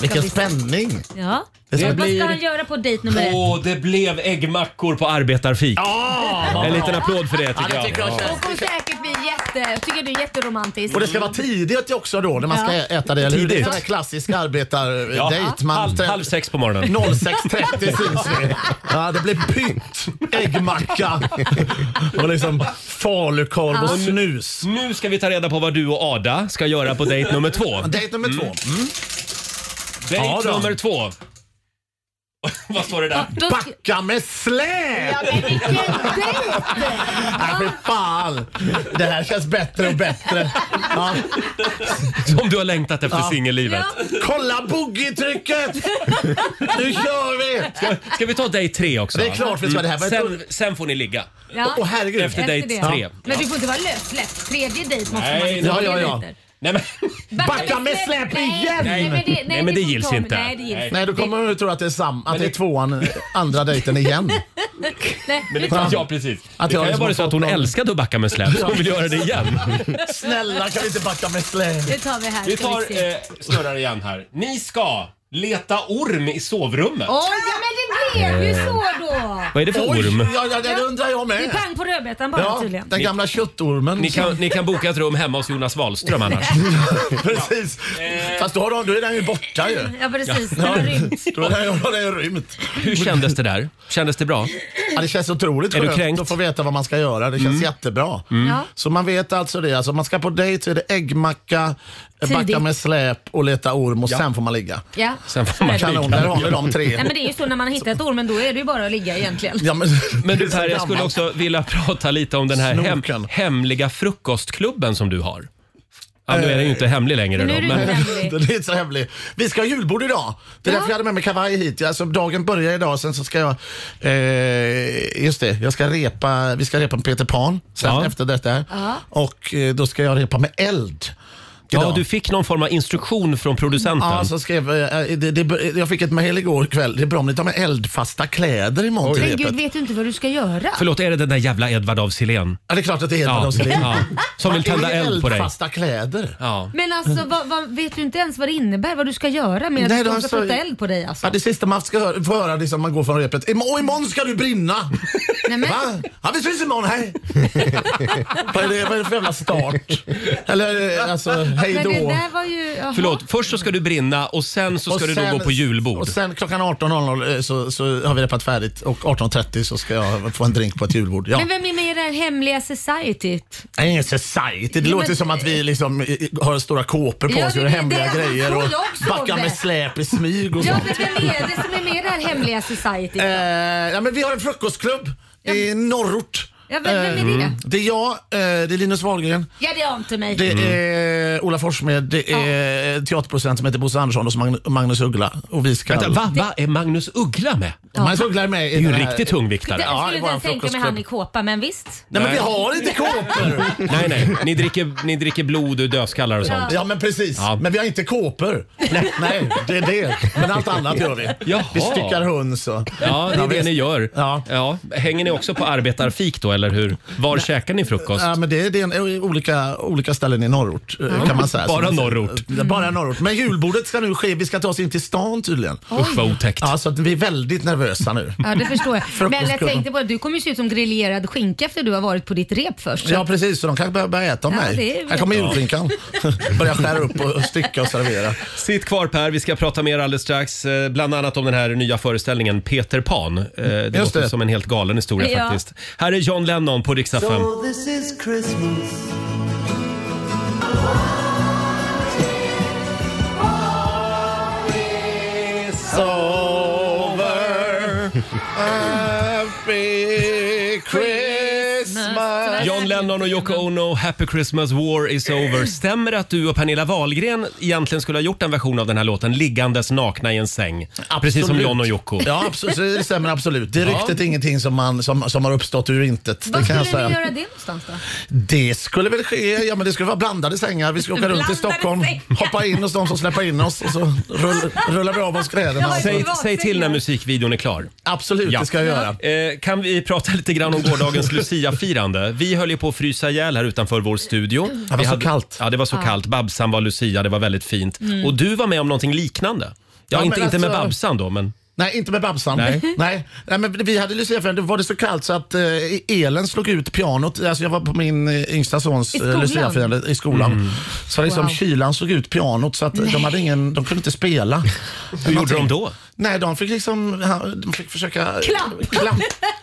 K: Vilken
C: vi se.
K: spänning!
C: Ja.
A: Det
C: Så Vad
A: blir-
C: ska han göra på dejt nummer ett?
A: Åh, det blev äggmackor på arbetarfik.
K: vad
A: en
K: bra.
A: liten applåd för det
K: Ja,
A: tycker
K: det
A: jag.
K: tycker jag
C: Hon kommer säkert bli jätte, tycker du är jätteromantisk.
K: Och det ska vara tidigt också då när man ska
C: Ja.
K: äta det. Eller hur? Det är
A: Tidigt.
K: sån här klassisk arbetardejt.
A: Ja,
K: Man
A: halv,
K: trä-
A: halv sex på morgonen.
K: 06.30 syns
A: <laughs>
K: vi. Ja, det blir pytt, äggmacka och liksom falukorv och snus.
A: Nu ska vi ta reda på vad du och Ada ska göra på dejt nummer två.
K: Dejt nummer två. Mm.
A: Dejt
K: Ja, då.
A: nummer två. <laughs> vad står det där?
C: Då ska-
K: Backa med släp!
C: Ja, men vilken dejt!
K: Nej, för fan. Det här känns bättre och bättre. Ja.
A: Som du har längtat efter
K: Ja.
A: singellivet.
K: Kolla boogie-trycket! Nu kör vi!
A: Ska vi ta dejt tre också?
K: Det är klart vi ska. Det här var ett
A: sen, sen får ni ligga.
C: Ja.
K: Åh, herregud.
A: Efter dejt
C: det.
A: tre.
C: Men du får inte vara lössläppt. Tredje dejt måste
A: Nej,
C: man
A: det-
C: inte
K: Ja, ja, ja.
A: Nej, <laughs> men,
K: Backa med släp igen!
C: Nej, men det, nej,
A: Nej, men det
C: får
A: gills
C: ta-
A: inte.
C: Nej, det gills
K: Nej, då kommer hon att tro att det är, sam, att det är tvåan, andra dejten igen.
C: Nej,
A: men det,
K: Ja.
A: ja, precis.
K: jag
A: det kan ju
K: liksom
A: vara
K: har
A: så att
K: fått
A: hon
K: någon-
A: älskade att backa med släp så hon vill göra det
K: <laughs>
A: igen.
K: Snälla kan vi inte backa med släp?
C: det tar vi här.
A: Vi
C: ska
A: tar
C: se.
A: eh, snurrar igen här. Ni ska leta orm i sovrummet.
C: Oj, ja, men det blev
A: Eh.
C: ju så då.
A: Vad är det för orm?
K: Oj, ja, ja, det undrar jag
C: Det är
K: med.
C: pang på rödbetan bara
K: Ja,
C: tydligen.
K: den gamla köttormen.
A: Ni kan, ni kan boka ett rum hemma hos Jonas Wahlström annars.
K: <laughs> Precis. Fast då, har de, då är den ju borta ju.
C: Ja precis, den har rymt.
K: Då har den, då har den ju rymt.
A: Hur kändes det där? Kändes det bra?
K: Ja, det känns otroligt
A: Är du
K: skönt
A: kränkt? Mm.
K: att få veta vad man ska göra. Det känns jättebra.
C: Ja.
K: Så man vet alltså det. Alltså man ska på dejt så är det äggmacka, backa
C: Tidigt.
K: med släp och leta orm och
A: Ja.
K: sen får man ligga.
C: Ja.
A: Sen får man
K: Kanon, där har vi de tre.
C: Nej, men det är ju så när man har hittat ormen då är det ju bara att ligga egentligen.
K: Ja, men,
A: Men
K: det är
A: du
K: så
A: Per, jag skulle
K: gammalt.
A: också vilja <laughs> prata lite om den här hem,
K: Snoken.
A: hemliga frukostklubben som du har. Ja, nu är den ju
K: Eh,
A: inte hemlig längre
C: Nu
A: då,
C: är det
A: men
C: inte hemlig.
K: Den är inte så hemlig. Vi ska ha julbord idag. Det är
C: Ja.
K: därför jag hade med mig kavaj hit. Alltså, dagen börjar idag, sen så ska jag... Eh, just det, jag ska repa, vi ska repa med Peter Pan sen
A: Ja.
K: efter detta. Och eh, då ska jag repa med eld.
A: ja,
K: idag.
A: du fick någon form av instruktion från producenten.
K: Ja, så skrev, eh, det, det, jag fick ett mejl igår kväll. Det är bra om ni tar med eldfasta kläder imorgon till
C: Men gud,
K: repet.
C: vet du inte vad du ska göra?
A: Förlåt, är det den där jävla Edvard af Sillén?
K: Ja, det är klart att det är helt
A: Ja,
K: vad de
A: ja. Som vill tända eld på dig.
K: Eldfasta kläder.
A: Ja.
C: Men alltså, vad, vad, vet du inte ens vad det innebär? Vad du ska göra med
K: Nej,
C: att
K: då
C: de ska
K: sa-
C: sätta eld på dig alltså?
K: Ja, det sista man ska höra, få höra liksom, man går från repet. Im- och imorgon ska du brinna!
C: Nej, men-
K: Va? Ja, vi syns imorgon, hej! <laughs> vad, är det, vad är det för jävla start? Eller eh, alltså, hej
C: Men det
K: då.
C: där var ju... jaha.
A: Förlåt, först så ska du brinna och sen så
K: Och
A: ska du
K: sen-
A: då gå på julbord.
K: Och sen klockan 18.00 eh, så, så har vi repat färdigt och 18.30 så ska jag få en drink på ett julbord. Ja.
C: Men vem är med i det här hemliga typ? societyt?
K: Nej, ingen society. Det
C: Jo,
K: låter
C: men-
K: som att vi liksom eh, har stora kåpor på
C: Ja,
K: oss
C: det-
K: och gör
C: det-
K: hemliga
C: det-
K: grejer
C: tror
K: och
C: jag också,
K: backar
C: Robert.
K: med släp i smyg och
C: Ja,
K: sånt.
C: men vem är det som är med i det här hemliga societyt?
K: Eh, ja, men vi har en frukostklubb i Norrort.
C: Ja, vem, vem är det?
K: Det är jag, eh, det är Linus Wahlgren,
C: Ja, det är om till mig.
K: det
A: Mm.
K: är Ola Forssmed, det är teaterproducent som heter Bosse Andersson och så Magn- Magnus Uggla. Och vi ska...
A: Vänta, va, va? Är Magnus Uggla med?
K: Magnus Uggla är med i
A: Det är ju en
K: den här-
A: riktig tungviktare.
C: Det
K: Ja,
C: skulle
K: det
C: inte
K: var en
C: ens tänka mig
K: frukostklubb.
C: han i kåpa, men visst.
K: Nej, men
A: Nej.
K: vi har inte kåpor!
C: <laughs>
A: Nej, nej. Ni dricker, ni dricker blod och dödskallar och sånt.
K: Ja men precis,
A: Ja.
K: men vi har inte kåpor. Nej. det är det. Men allt annat gör vi.
A: Jaha.
K: Vi styckar höns och...
A: Ja, det är det
K: visst.
A: ni gör.
K: Ja.
A: Ja. Hänger ni också på arbetarfik då, eller hur? Var käkar ni frukost?
K: Ja, men det, är- det är en, olika, olika ställen i norrort eh, kan man säga.
A: Bara
K: Så-
A: norrort.
K: Ja, Bara norrort. Men julbordet ska nu ske. Vi ska ta oss in till stan tydligen.
A: Usch vad otäckt.
K: Ja, så att vi är väldigt nervösa nu.
C: Ja, det
K: <laughs>
C: förstår jag. Men jag
K: Frukostklubben.
C: tänkte bara, du kommer ju se ut som grillerad skinka efter du har varit på ditt rep först.
K: Ja precis, så de kanske börjar börja äta av
C: Ja, det
K: mig.
C: är
K: Här kommer julskinkan. <laughs> Börjar skära upp och stycka och servera.
A: Sitt kvar Per, vi ska prata mer alldeles strax. eh, Bland annat om den här nya föreställningen Peter Pan. Eh, Det låter
K: det.
A: som en helt galen historia
C: Ja.
A: faktiskt. Här är John Lennon på Rix FM.
B: So this is Christmas.
K: It's over. Happy Christmas.
A: John Lennon och Yoko Ono, Happy Christmas War is over. Stämmer det att du och Pernilla Wahlgren egentligen skulle ha gjort en version av den här låten liggandes nakna i en säng? Precis som
K: Absolut.
A: John och Yoko.
K: Ja, absolut. Så det stämmer absolut. Det är ryktet är ingenting som, man, som, som har uppstått ur intet.
C: Var
K: det kan jag
C: skulle
K: säga.
C: ni göra det någonstans då?
K: Det skulle väl ske, ja men det skulle vara blandade sängar. Vi skulle åka runt i
C: Blandade
K: Stockholm,
C: sängar.
K: hoppa in hos de som släpper in oss och så rull, rullar vi av oss kläderna.
C: Ja,
A: Säg, säg
C: Privatsängar.
A: till när musikvideon är klar.
K: Absolut,
A: Ja.
K: det ska jag göra.
A: Eh, kan vi prata lite grann om gårdagens
K: <laughs>
A: Lucia-firande? Vi höll ju på att frysa ihjäl här utanför vår studio. Det
K: var så kallt. Mm.
A: Ja, det var så kallt. Babsan var Lucia, det var väldigt fint. Och du var med om någonting liknande. Ja,
K: men
A: inte, inte med
K: alltså-
A: Babsan då, men...
K: Nej, inte med Babsan.
A: Nej.
K: Nej. <laughs> Nej. men vi hade luciafirande. Det var det så kallt så att eh, elen slog ut pianot. Alltså jag var på min eh, yngsta sons
A: I
K: eh,
A: skolan?
K: luciafirande i skolan. Så liksom
A: Wow.
K: kylan slog ut pianot så att de, hade ingen, de kunde inte spela. Hur
A: gjorde de då?
K: Nej, de fick liksom han- de fick försöka eh,
B: Klapp.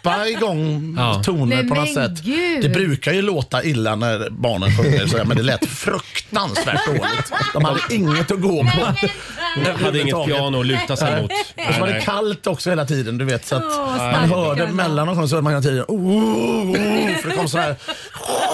K: klappa igång
B: Ja.
K: toner
B: Nej,
K: på något
B: men
K: sätt.
B: gud.
K: Det brukar ju låta illa när barnen sjunger sådär, men det lät fruktansvärt dåligt. De hade inget att gå på.
A: De hade inget piano att luta sig
K: Nej.
A: Alltså, mot.
K: <laughs> Och så var det
A: Nej.
K: kallt också hela tiden. Du vet, så att
A: Åh,
K: man
A: stackars.
K: hörde mellan de kom så hörde man hela tiden oh, oh, oh, för det kom så här <laughs>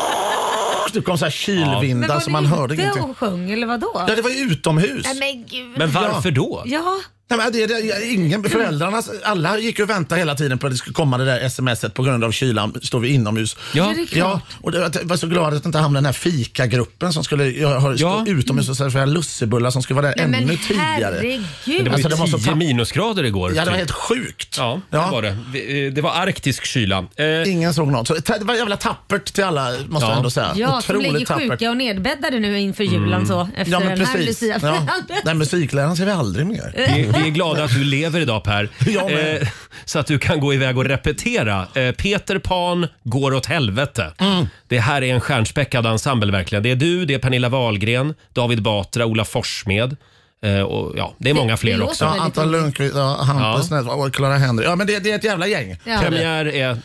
K: det kom så här
C: Men
K: kylvindar
C: var
K: så man hörde
C: det inte
K: ingenting.
C: och sjöng eller vadå?
K: Ja, det var ju utomhus.
C: Nej, men gud. Ja.
K: Nej, men det, det, ingen, föräldrarna, alla gick ju och väntade hela tiden på att det skulle komma det där smset på grund av kylan står vi inomhus.
B: Ja. Det är klart.
K: ja och Alltså, det, jag var så glad att inte hamnade i den här fikagruppen som skulle jag, har- stå utomhus och servera lussebullar som skulle vara där
C: Nej, men
K: ännu tidigare.
C: herregud.
A: Det var
K: Alltså,
A: ju
K: det var så
A: 10
K: tapp-
A: minusgrader igår.
K: Ja, det
A: typ.
K: var helt sjukt.
A: Ja, det var det. Vi- eh, Det var arktisk kyla. Eh,
K: Ingen såg något. Så det var jävla tappert till alla, måste jag ändå säga.
C: Ja, som ligger sjuka och nedbäddade nu inför julen så efter
K: Mm. ja, men
C: den här
K: precis.
C: luciafiranden. <laughs>
K: Ja. Den musikläraren ser vi aldrig
C: Eh,
K: mer.
A: Vi, vi är glada att du lever idag
K: <laughs>
A: Per.
K: Jag med.
A: Eh, så att du kan gå iväg och repetera. Eh, Peter Pan går åt helvete.
K: Mm.
A: Det här är en stjärnspäckad ensemble verkligen. Det är du, det är Pernilla Wahlgren, David Batra, Ola Forssmed. Eh, och, ja, det är många fler också.
K: Ja, Anton Lundqvist, ja, Hampus ja. och Clara Henry. Ja, men det, det är ett jävla gäng.
A: Ja. Premiär är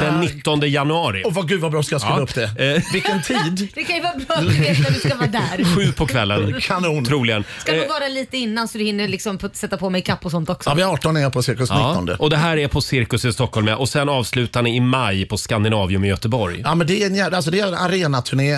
A: den 19 januari.
K: Och vad, gud vad bra ska jag skriva
A: Ja. Eh,
K: upp det. Vilken tid?
C: Det kan ju vara bra att du vet när du ska vara där.
A: <laughs> Sju på kvällen.
K: Kanon.
A: Troligen.
C: Ska
A: Eh,
C: nog vara lite innan så du hinner liksom put- sätta på mig kapp och sånt också.
K: Ja, vi är 18 är jag på Cirkus
A: Ja,
K: 19.
A: och det här är på Cirkus i Stockholm ja. och sen avslutar ni i maj på Scandinavium i Göteborg.
K: Ja, men det är en, jävla- alltså det är en arenaturné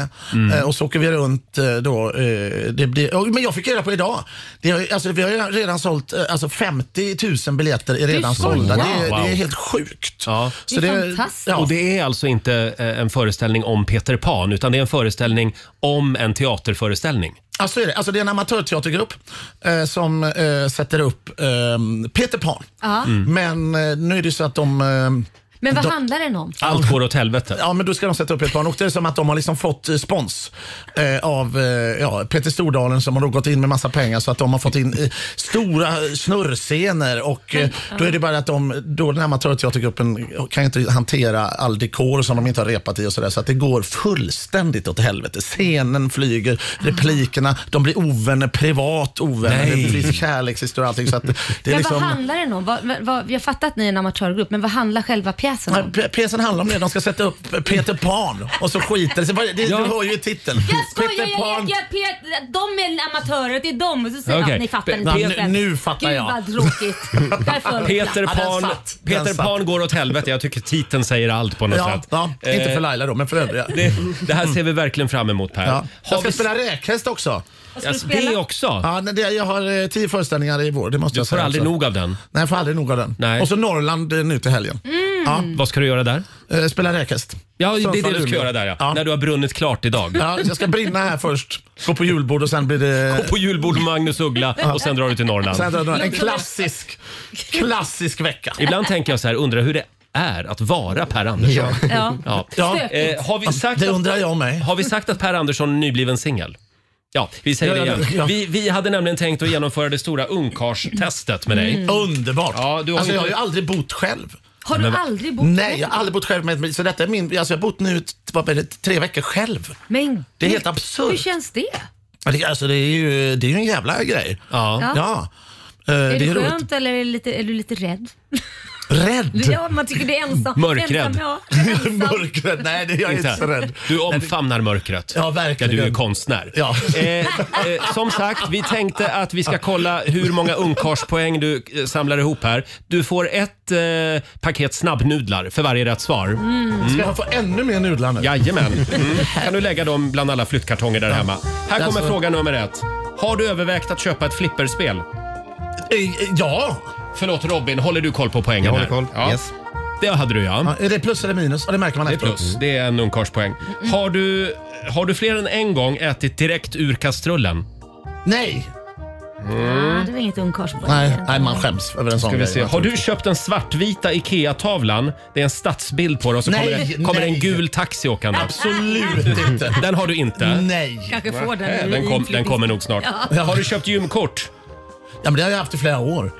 K: eh, och så åker vi runt eh, då. Eh, det blir, oh, men jag fick reda på idag. Det, är- alltså, vi har ju redan sålt eh, alltså 50 000 biljetter är redan
A: skojar.
K: sålda. Det, är-
A: Wow.
K: det är helt sjukt.
A: Ja.
K: Så Det är det- fantastiskt. ja.
A: Och det är alltså inte eh, en föreställning om Peter Pan utan det är en föreställning om en teaterföreställning.
K: Alltså är det. Alltså det är en amatörteatergrupp eh, som eh, sätter upp eh, Peter Pan.
C: Ja.
A: Mm.
K: Men eh, nu är det så att de... Eh,
C: Men vad
K: de,
C: handlar den om?
A: Allt går åt helvete.
K: Ja, men då ska de sätta upp ett barn. Och det är som att de har liksom fått eh, spons eh, av eh, ja, Peter Stordalen som har då gått in med massa pengar så att de har fått in eh, stora eh, snurrscener och eh, då är det bara att de, då den här amatörteatergruppen kan ju inte hantera all dekor som de inte har repat i och sådär så att det går fullständigt åt helvete. Scenen flyger, replikerna, de blir ovänner, privat ovänner,
A: Nej.
K: det finns kärlekshistorier och allting. Så att det är
C: men
K: liksom...
C: vad handlar den om? Vad, vad, jag fattar att ni är en amatörgrupp, men vad handlar själva pjäsen om?
K: P- Pjäsen handlar om det, de ska sätta upp Peter Pan och så skiter det sig. Vad är det-
C: Ja.
K: Du hör ju i titeln.
C: Jag skojar,
K: Peter
C: jag, jag, jag, Pet- de är amatörer, det är de. Och så säger
K: Okej.
C: att ni fattar
K: Pe-
C: inte.
K: nu-
C: begreppet.
K: nu fattar
C: Gud,
K: jag. <laughs>
C: vad tråkigt. Där föll det.
A: Peter
K: Ja, den
A: Pan,
K: satt. Den
A: Peter
K: satt.
A: Pan går åt helvete. Jag tycker titeln säger allt på något
K: Ja,
A: sätt.
K: ja. Inte för
A: Laila
K: då, men för övriga.
A: Eh, Det, det här ser vi verkligen fram emot Per.
K: Ja.
A: Har
K: Jag ska
A: vi-
K: spela räkhäst också.
A: ska du Alltså, spela? det också?
K: Ja, nej, det, jag har eh, tio föreställningar i vår, det måste
A: Du
K: jag
A: får
K: säga.
A: aldrig
K: också.
A: nog av den.
K: Nej, jag får aldrig nog av den.
A: Nej.
K: Och så Norrland eh, nu till helgen.
C: Mm.
K: Ja.
A: Vad ska du göra där?
K: Eh, Spela räkhäst.
A: Ja, det är
K: Sundsvall,
A: det du ska
K: Umeå.
A: göra där ja. När du har brunnit klart idag.
K: Ja, jag ska brinna här först, gå på julbord och sen blir det...
A: Gå på julbord med Magnus Uggla och sen drar du till Norrland.
K: Sen drar jag- en klassisk, klassisk vecka.
A: Ibland tänker jag så här, undrar hur det är att vara Per Andersson.
K: Ja.
A: Ja.
K: Ja.
A: Eh, har vi sagt
K: Det undrar jag mig.
A: Har vi sagt att Per Andersson är nybliven singel? Ja, vi säger
K: Ja,
A: det
K: ja,
A: igen.
K: ja.
A: Vi, vi hade nämligen tänkt att genomföra det stora ungkarlstestet med dig.
K: Mm. Underbart!
A: Ja, du har
K: Alltså,
A: ju-
K: jag har ju aldrig bott själv.
C: Har du
A: Men-
C: aldrig bott
K: Nej, jag har aldrig bott själv. Med, så detta är min, alltså jag har bott nu t- vad blir det, tre veckor själv.
C: Men
K: Det är
C: gud,
K: helt absurt.
C: Hur känns det?
K: Ja, Det, alltså, det, är ju, det är ju en jävla grej.
C: Ja.
K: ja. Eh,
C: Är
K: det
C: det
K: är roligt.
C: skönt eller är, det lite, är du lite rädd?
K: Rädd?
C: Ja, man tycker det är ensam.
A: Mörkrädd.
C: Ensam,
K: <laughs>
C: ja.
K: Mörkret? Nej, det, jag är inte så rädd.
A: Du omfamnar mörkret. Ja, verkligen. du är konstnär. Eh, eh, som sagt, vi tänkte att vi ska kolla hur många ungkarlspoäng du eh, samlar ihop här. Du får ett eh, paket snabbnudlar för varje rätt svar. Mm.
K: Ska jag få ännu mer nudlar nu?
A: Jajamän.
K: <laughs>
A: Mm. Kan du lägga dem bland alla flyttkartonger där hemma. Här kommer
K: Alltså-
A: fråga nummer ett. Har du övervägt att köpa ett flipperspel?
K: Eh, Ja.
A: Förlåt Robin, håller du koll på poängen? Jag håller koll. Ja. Det hade du ja.
K: Ja, är det plus eller minus? Ja, det märker man
A: Det är Mm.
K: efteråt.
A: plus. Det är en ungkarlspoäng. Har du, har du fler än en gång ätit direkt ur kastrullen?
K: Nej!
C: Ah, det var inget ungkarlspoäng.
K: skäms över en sån
A: Ska vi
K: grej,
A: se. Har du
K: naturligtvis.
A: köpt den svartvita IKEA-tavlan? Det är en stadsbild på den och så kommer,
K: Nej,
A: det, kommer det en
K: nej.
A: gul taxi åkande.
K: Absolut inte.
A: Den har du inte?
K: Nej.
C: Kanske får den
A: Nej,
C: i
A: Den, kom, den
C: inflyttning.
A: kommer nog snart.
C: Ja.
A: Har du köpt gymkort?
K: Ja, men det har jag haft i flera år.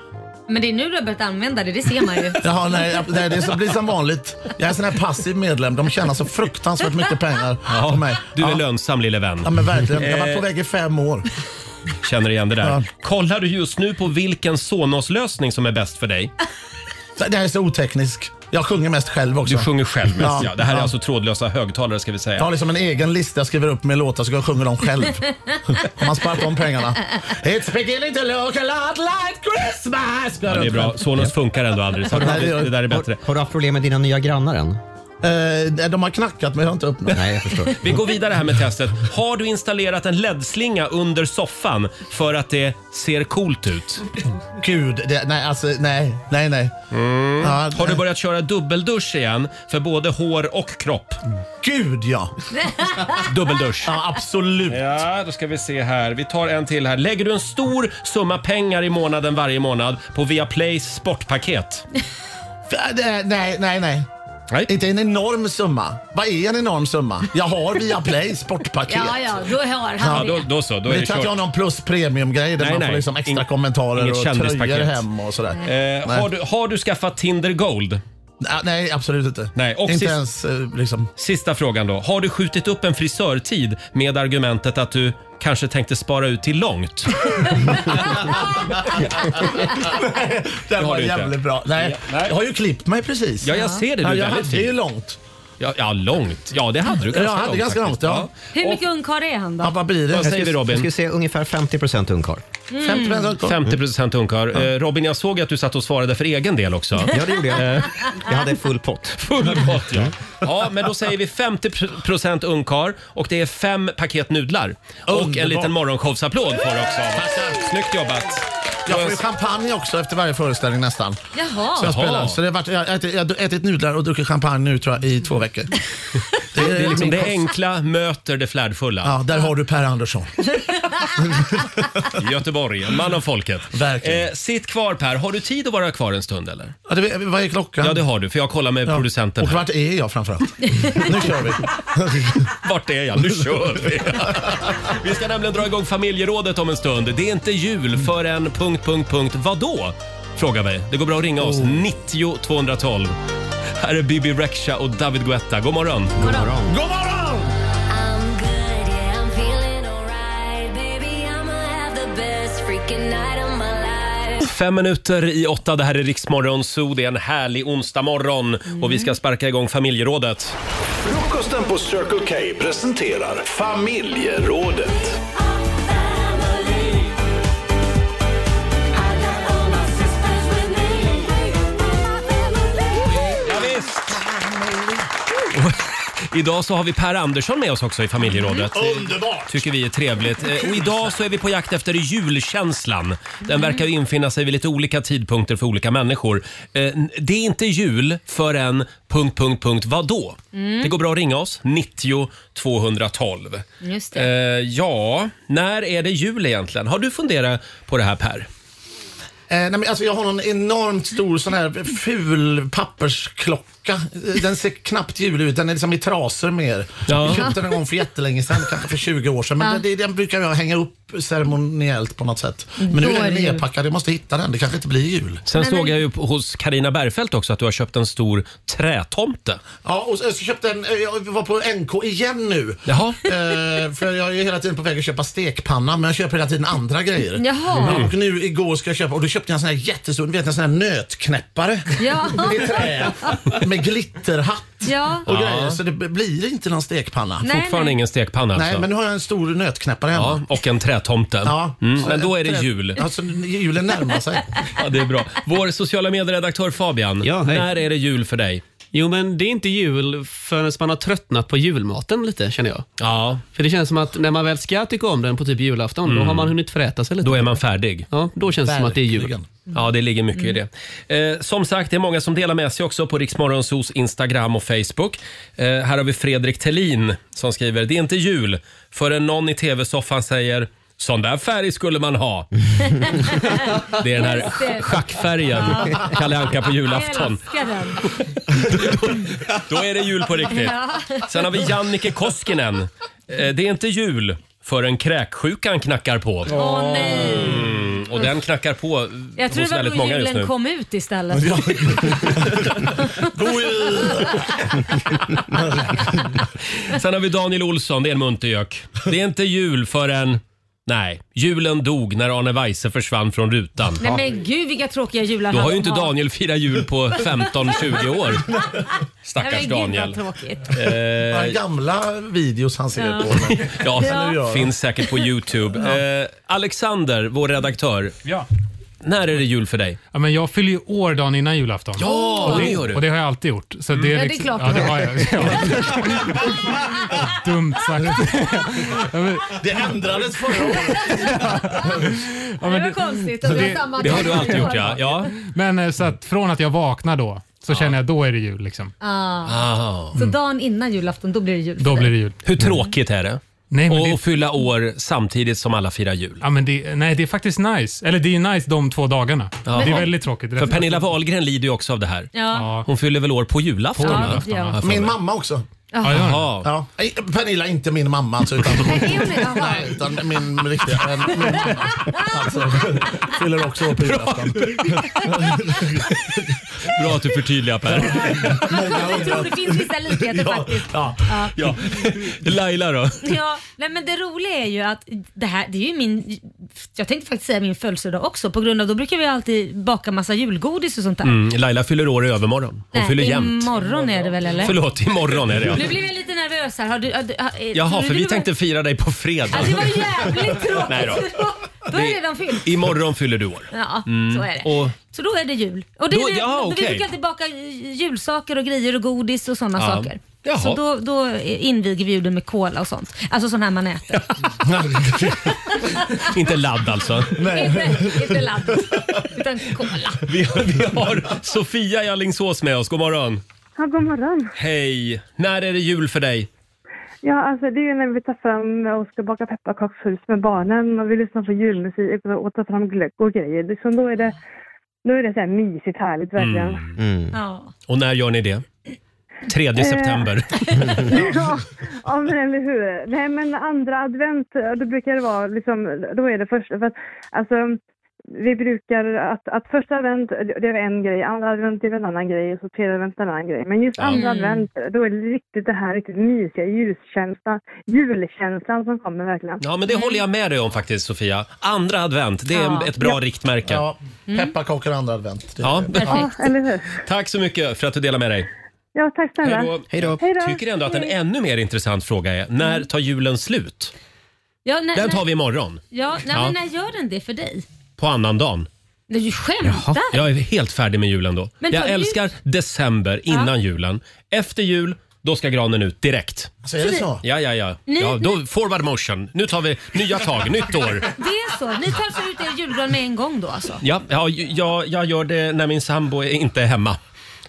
C: Men det är nu du har börjat använda det, det ser man
A: <laughs>
C: ju.
K: Jaha, nej, nej, det är så- blir som vanligt. Jag är sån här passiv medlem. De tjänar så fruktansvärt mycket pengar på mig.
A: Du är lönsam lille vän.
K: Ja, men verkligen. Jag var
A: Eh,
K: på väg i fem år.
A: Känner igen det där.
K: Ja.
A: Kollar du just nu på vilken Sonos-lösning som är bäst för dig?
K: Det här är så otekniskt. Jag sjunger mest själv också.
A: Du sjunger själv mest Alltså. ja.
K: Ja.
A: Det här är
K: Ja.
A: alltså trådlösa högtalare ska vi säga.
K: Jag har liksom en egen lista jag skriver upp med låtar så jag sjunger dem själv. Om man sparar om pengarna. It's beginning to look a lot like Christmas.
A: Ja, det är bra. Sonos funkar ändå aldrig. Så
K: <laughs> Nej, det gör-
A: det där är bättre.
F: Har du haft problem med dina nya
A: <laughs>
F: grannar än?
K: Eh, nej, de har knackat men jag har inte öppnat.
F: Nej, jag förstår.
A: Vi går vidare här med testet. Har du installerat en LED-slinga under soffan för att det ser coolt ut?
K: Gud, det, nej alltså nej, nej, nej. Ja,
A: Mm.
K: eh,
A: Har du börjat köra dubbeldusch igen för både hår och kropp?
K: Gud ja!
A: Dubbeldusch.
K: Ja, absolut.
A: Ja, då ska vi se här. Vi tar en till här. Lägger du en stor summa pengar i månaden varje månad på Viaplays sportpaket?
K: F- eh, Nej, nej, nej. Inte en enorm summa. Vad är en enorm summa? Jag har via Play sportpaket.
C: Ja, ja, då har
K: Ja,
C: han
K: då-
C: det.
A: Då så, då
K: Men
A: är
K: det
A: det
K: kan inte
A: kört.
K: jag någon plus premium-grej där
A: Nej,
K: man
A: nej.
K: får liksom extra
A: Ing-
K: kommentarer
A: inget
K: och
A: kändispaket.
K: tröjor hem och sådär.
A: Eh, har, du, har du skaffat Tinder Gold?
K: Ah, Nej, absolut inte.
A: Nej, och
K: Inte
A: sist-
K: ens eh, liksom...
A: Sista frågan då. Har du skjutit upp en frisörtid med argumentet att du kanske tänkte spara ut till långt? <laughs>
K: Nej,
A: Det har
K: den var
A: du inte.
K: jävligt bra. Nej, jag har ju klippt mig precis.
A: Ja, jag ser det. Du är
K: Ja, jag
A: väldigt
K: hade
A: fin.
K: ju långt.
A: Ja, ja, långt. Ja, det hade du ganska
K: Jag hade
A: långt.
K: ganska
A: faktiskt.
K: långt, ja.
C: Hur mycket ungkarl är han då?
K: blir
A: Vad säger vi
F: Jag
A: Robin?
F: skulle säga ungefär 50 ungkarl.
C: Mm.
K: 50% ungkarl.
A: 50 ungkarl. Eh, Robin, jag såg att du satt och svarade för egen del också.
K: <laughs>
F: Ja, det gjorde
A: Eh.
F: jag. Jag hade full pott.
A: Full pott ja. Ja, men då säger vi 50% ungkarl och det är fem paket nudlar. Och en
K: Underbart.
A: liten morgonshowsapplåd får du också av oss. Snyggt jobbat!
K: Jag får ju champagne också efter varje föreställning nästan.
C: Jaha.
K: Så jag spelar. Så det har varit, jag har ätit, jag har ätit nudlar och druckit champagne nu tror jag i två veckor. Det är,
A: Det, är liksom
K: min
A: det
K: kost.
A: enkla möter det flärdfulla.
K: Ja, där har du Per Andersson.
A: <laughs> Göteborg, en man av folket.
K: Verkligen.
A: Eh, sitt kvar Per, har du tid att vara kvar en stund eller?
K: Ja, det, vad är klockan?
A: Ja det har du, för jag kollar med
K: Ja.
A: producenten
K: Och
A: här.
K: vart är jag framförallt? nu kör vi.
A: Vart är jag? Nu kör vi! <laughs> vi ska nämligen dra igång familjerådet om en stund. Det är inte jul förrän... Punkt, punkt, punkt. Vadå? Frågar vi. Det går bra att ringa oss.
K: Oh.
A: 90 212. Här är Bibi Rexha och David Guetta. God morgon!
F: God morgon.
K: God morgon!
A: Fem minuter i åtta. Det här är Riksmorgon Zoo. Det är en härlig onsdag morgon
F: Mm.
A: och vi ska sparka igång familjerådet.
D: Frukosten på Circle K presenterar Familjerådet.
A: Ja, visst. Och <laughs> Idag så har vi Per Andersson med oss också i familjerådet.
C: Mm.
K: Underbart!
A: tycker vi är trevligt. Eh, Och idag så är vi på jakt efter julkänslan.
C: Mm.
A: Den verkar ju infinna sig vid lite olika tidpunkter för olika människor. Eh, n- Det är inte jul förrän... Punkt, punkt, punkt, vadå?
C: Mm.
A: Det går bra att ringa oss. 90 212.
C: Just
A: Eh,
C: det.
A: ja, när är det jul egentligen? Har du funderat på det här Per?
K: Eh, nej, men alltså, jag har någon enormt stor sån här ful pappersklocka. Eh, Den ser knappt julig ut. Den är liksom i trasor mer.
A: Ja.
K: Jag köpte den en gång för jättelänge sedan, kanske för 20 år sedan. Men
C: Ja.
K: den, den brukar jag hänga upp ceremoniellt på något sätt. Men
C: Då
K: nu är
C: är
K: den
C: det jul.
K: nerpackad. Jag måste hitta den. Det kanske inte blir jul.
A: Sen
C: Nej, men-
A: såg jag ju på- hos Karina Bergfeldt också att du har köpt en stor trätomte.
K: Ja, och så så köpte en, eh, jag var på NK igen nu.
A: Jaha.
K: Eh, för jag är ju hela tiden på väg att köpa stekpanna men jag köper hela tiden andra grejer.
C: Jaha.
K: Ja, Och nu igår ska jag köpa och då köpte jag en sån här jättestor, ni vet en sån här nötknäppare.
C: Ja.
K: I trä. Med glitterhatt
C: Ja.
K: och
A: Ja.
K: grejer. Så det b- blir inte någon stekpanna. Nej,
C: Nej,
A: Fortfarande
C: nej.
A: ingen stekpanna alltså.
K: men nu har jag en stor nötknäppare
A: Ja,
K: hemma.
A: och en trätomte. Mm,
K: Så
A: men då är det
K: trä-
A: jul.
K: Alltså, julen närmar sig.
A: Ja, det är bra. Vår sociala medieredaktör Fabian,
I: Ja, hej.
A: när är det jul för dig?
I: Jo, men det är inte jul förrän man har tröttnat på julmaten lite, känner jag.
A: Ja,
I: För det känns som att när man väl ska tycka om den på typ julafton, då har man hunnit föräta sig lite.
A: då är man färdig.
I: Ja, då känns det som att det är jul.
K: Mm. Verkligen.
A: Ja, det ligger mycket i
C: Mm.
A: det. Eh, som sagt, det är många som delar med sig också på Riksmorgonsos Instagram och Facebook. Eh, här har vi Fredrik Tellin som skriver, det är inte jul förrän någon i tv-soffan säger Sån där färg skulle man
C: <laughs>
A: ha. Det är den här
C: Just det.
A: schackfärgen. Kalle Anka på julafton.
C: Jag älskar den.
A: Då är det jul på riktigt. Sen har vi
C: <laughs>
A: Jannike Koskinen. Eh, Det är inte jul förrän kräksjukan knackar på.
C: Åh nej.
A: och den knackar på eh,
C: Jag tror
A: hos
C: det var
A: väldigt
C: då
A: många just
C: julen
A: nu.
C: kom
A: <laughs>
C: ut istället.
K: Ja.
A: Sen har vi Daniel Olsson, det är en muntergök. Det är inte jul förrän... Nej, julen dog när Arne Weise försvann från rutan.
C: Nej men gud vilka tråkiga jular
A: Då har
C: han
A: ju inte
C: har.
A: Daniel firat jul på 15-20
C: <laughs>
A: år. Stackars
C: Nej, men gud, vad
A: Daniel.
C: tråkigt.
K: Bara
A: Eh,
K: gamla videos han ser
C: Ja.
K: på. men-
A: ja,
K: Eller gör han?
A: finns säkert på Youtube. Eh, Alexander, vår redaktör.
J: Ja.
A: När är det jul för dig?
J: Ja, men jag fyller ju år dagen innan julafton.
A: Ja,
J: och
A: det gör du.
J: Och det har jag alltid gjort. Så det,
C: Mm. Ja,
J: är
C: det är
J: liksom,
C: klart
J: ja,
C: du
J: det
C: har.
J: har jag. Ja. <laughs> Dumt sagt. Ja, men,
K: Det ändrades förra året.
J: ja, men
C: Det var
J: det-
C: konstigt
J: så
C: om det
J: det-
C: var samma
A: Det har
C: dag.
A: du alltid gjort ja. ja.
J: men eh, så att från att jag vaknar då, så känner jag då är det jul. Liksom.
C: Ah.
A: Ah.
C: Så dagen innan julafton, då blir det jul.
J: Då blir det jul.
A: Hur tråkigt är det?
J: Mm. Nej, men
A: Och
J: det,
A: att fylla år samtidigt som alla firar jul.
J: ja, men det, nej, det är faktiskt nice. Eller det är ju nice de två dagarna.
A: Ja.
J: Det är väldigt tråkigt.
A: För Pernilla Wahlgren lider ju också av det här.
C: Ja.
J: Ja.
A: Hon fyller väl år på julafton?
J: På
A: va?
J: julafton,
C: ja.
A: Har jag för
K: Min
A: mig.
K: mamma också.
J: Ja, gör det.
A: Jaha.
K: Ja. Nej, Pernilla, inte min mamma alltså, utan,
C: Är hon det?
A: <laughs>
C: Jaha.
K: nej, utan min riktiga
C: <laughs>
K: men min mamma. Alltså, fyller också år på julafton.
A: Bra att du förtydligar Per.
C: Jag tror det finns vissa likheter
A: <laughs>
C: faktiskt.
K: Ja.
A: Ja. Laila då?
C: Ja, nej men det roliga är ju att det här, det är ju min, jag tänkte faktiskt säga min födelsedag också på grund av då brukar vi alltid baka massa julgodis och sånt där.
A: Mm, Laila fyller år i övermorgon. Hon
C: Nej,
A: fyller jämt.
C: Imorgon är det väl eller?
A: Förlåt, imorgon är det ja.
C: Nu blev jag lite nervös här. Har du, har, du- har, eh,
A: Jaha,
C: trodde
A: för
C: du
A: vi
C: var-
A: tänkte fira dig på fredag.
C: Ja, det var jävligt
A: <laughs>
C: tråkigt.
A: Nej då.
C: då är det redan fyllt.
A: Imorgon fyller du
C: <laughs>
A: år.
C: Ja, så är det.
A: Och
C: Så då är det jul. Och det,
A: Då-
C: vi,
A: ja,
C: vi
A: okej.
C: brukar alltid baka j- julsaker och grejer och godis och sådana
A: Ja.
C: saker.
A: Jaha.
C: Så då, då inviger vi ju det med cola och sånt. Alltså sån här man äter.
A: inte ladd alltså.
C: inte, inte ladd, utan cola.
A: Vi har, vi har Sofia i Alingsås med oss. God morgon.
L: Ja, god morgon.
A: Hej! När är det jul för dig?
L: Ja, alltså det är ju när vi tar fram och ska baka pepparkakshus med barnen och vi lyssnar på julmusik och och tar fram glögg och grejer. Liksom då är det, då är det så här mysigt, härligt verkligen.
A: Mm.
C: Ja.
A: Och när gör ni det? 3
C: Eh.
A: september.
L: Ja, ja, men eller hur. Nej, men andra advent, då brukar det vara liksom, då är det första. För att, alltså, vi brukar att, att första advent, det är en grej, andra advent är en annan grej och så tredje advent är en annan grej. Men just
A: Mm.
L: andra advent, då är det riktigt det här riktigt mysiga ljuskänslan, julkänslan som kommer verkligen.
A: Ja, men det håller jag med dig om faktiskt Sofia. Andra advent, det är en-
C: Ja.
A: ett bra riktmärke. Ja.
K: Ja,
C: Mm.
K: pepparkakor andra advent. Det-
L: Ja, eller hur?
A: Tack så mycket för att du delar med dig.
L: Ja, tack snälla.
A: Hej då.
F: Hej då.
L: Hej då.
A: Tycker ändå att en ännu mer intressant fråga är, när tar julen slut?
C: Ja, när,
A: Den
C: när,
A: tar vi imorgon,
C: ja, nej,
A: Ja.
C: Men när gör den det för dig?
A: på annandagen.
C: Nej, du skämtar?
A: Jag är helt färdig med julen då.
C: Men
A: Jag
C: tar du-
A: älskar december innan
C: Ja.
A: julen. Efter jul, då ska granen ut direkt.
K: Alltså, är det så?
A: Ja, ja, ja.
C: Ni-
A: ja då, forward motion. Nu tar vi nya tag, nytt år.
C: Det är så? Ni tar alltså ut er julgran med en gång då alltså?
A: Ja, ja, ju- jag, jag gör det när min sambo är- inte är hemma.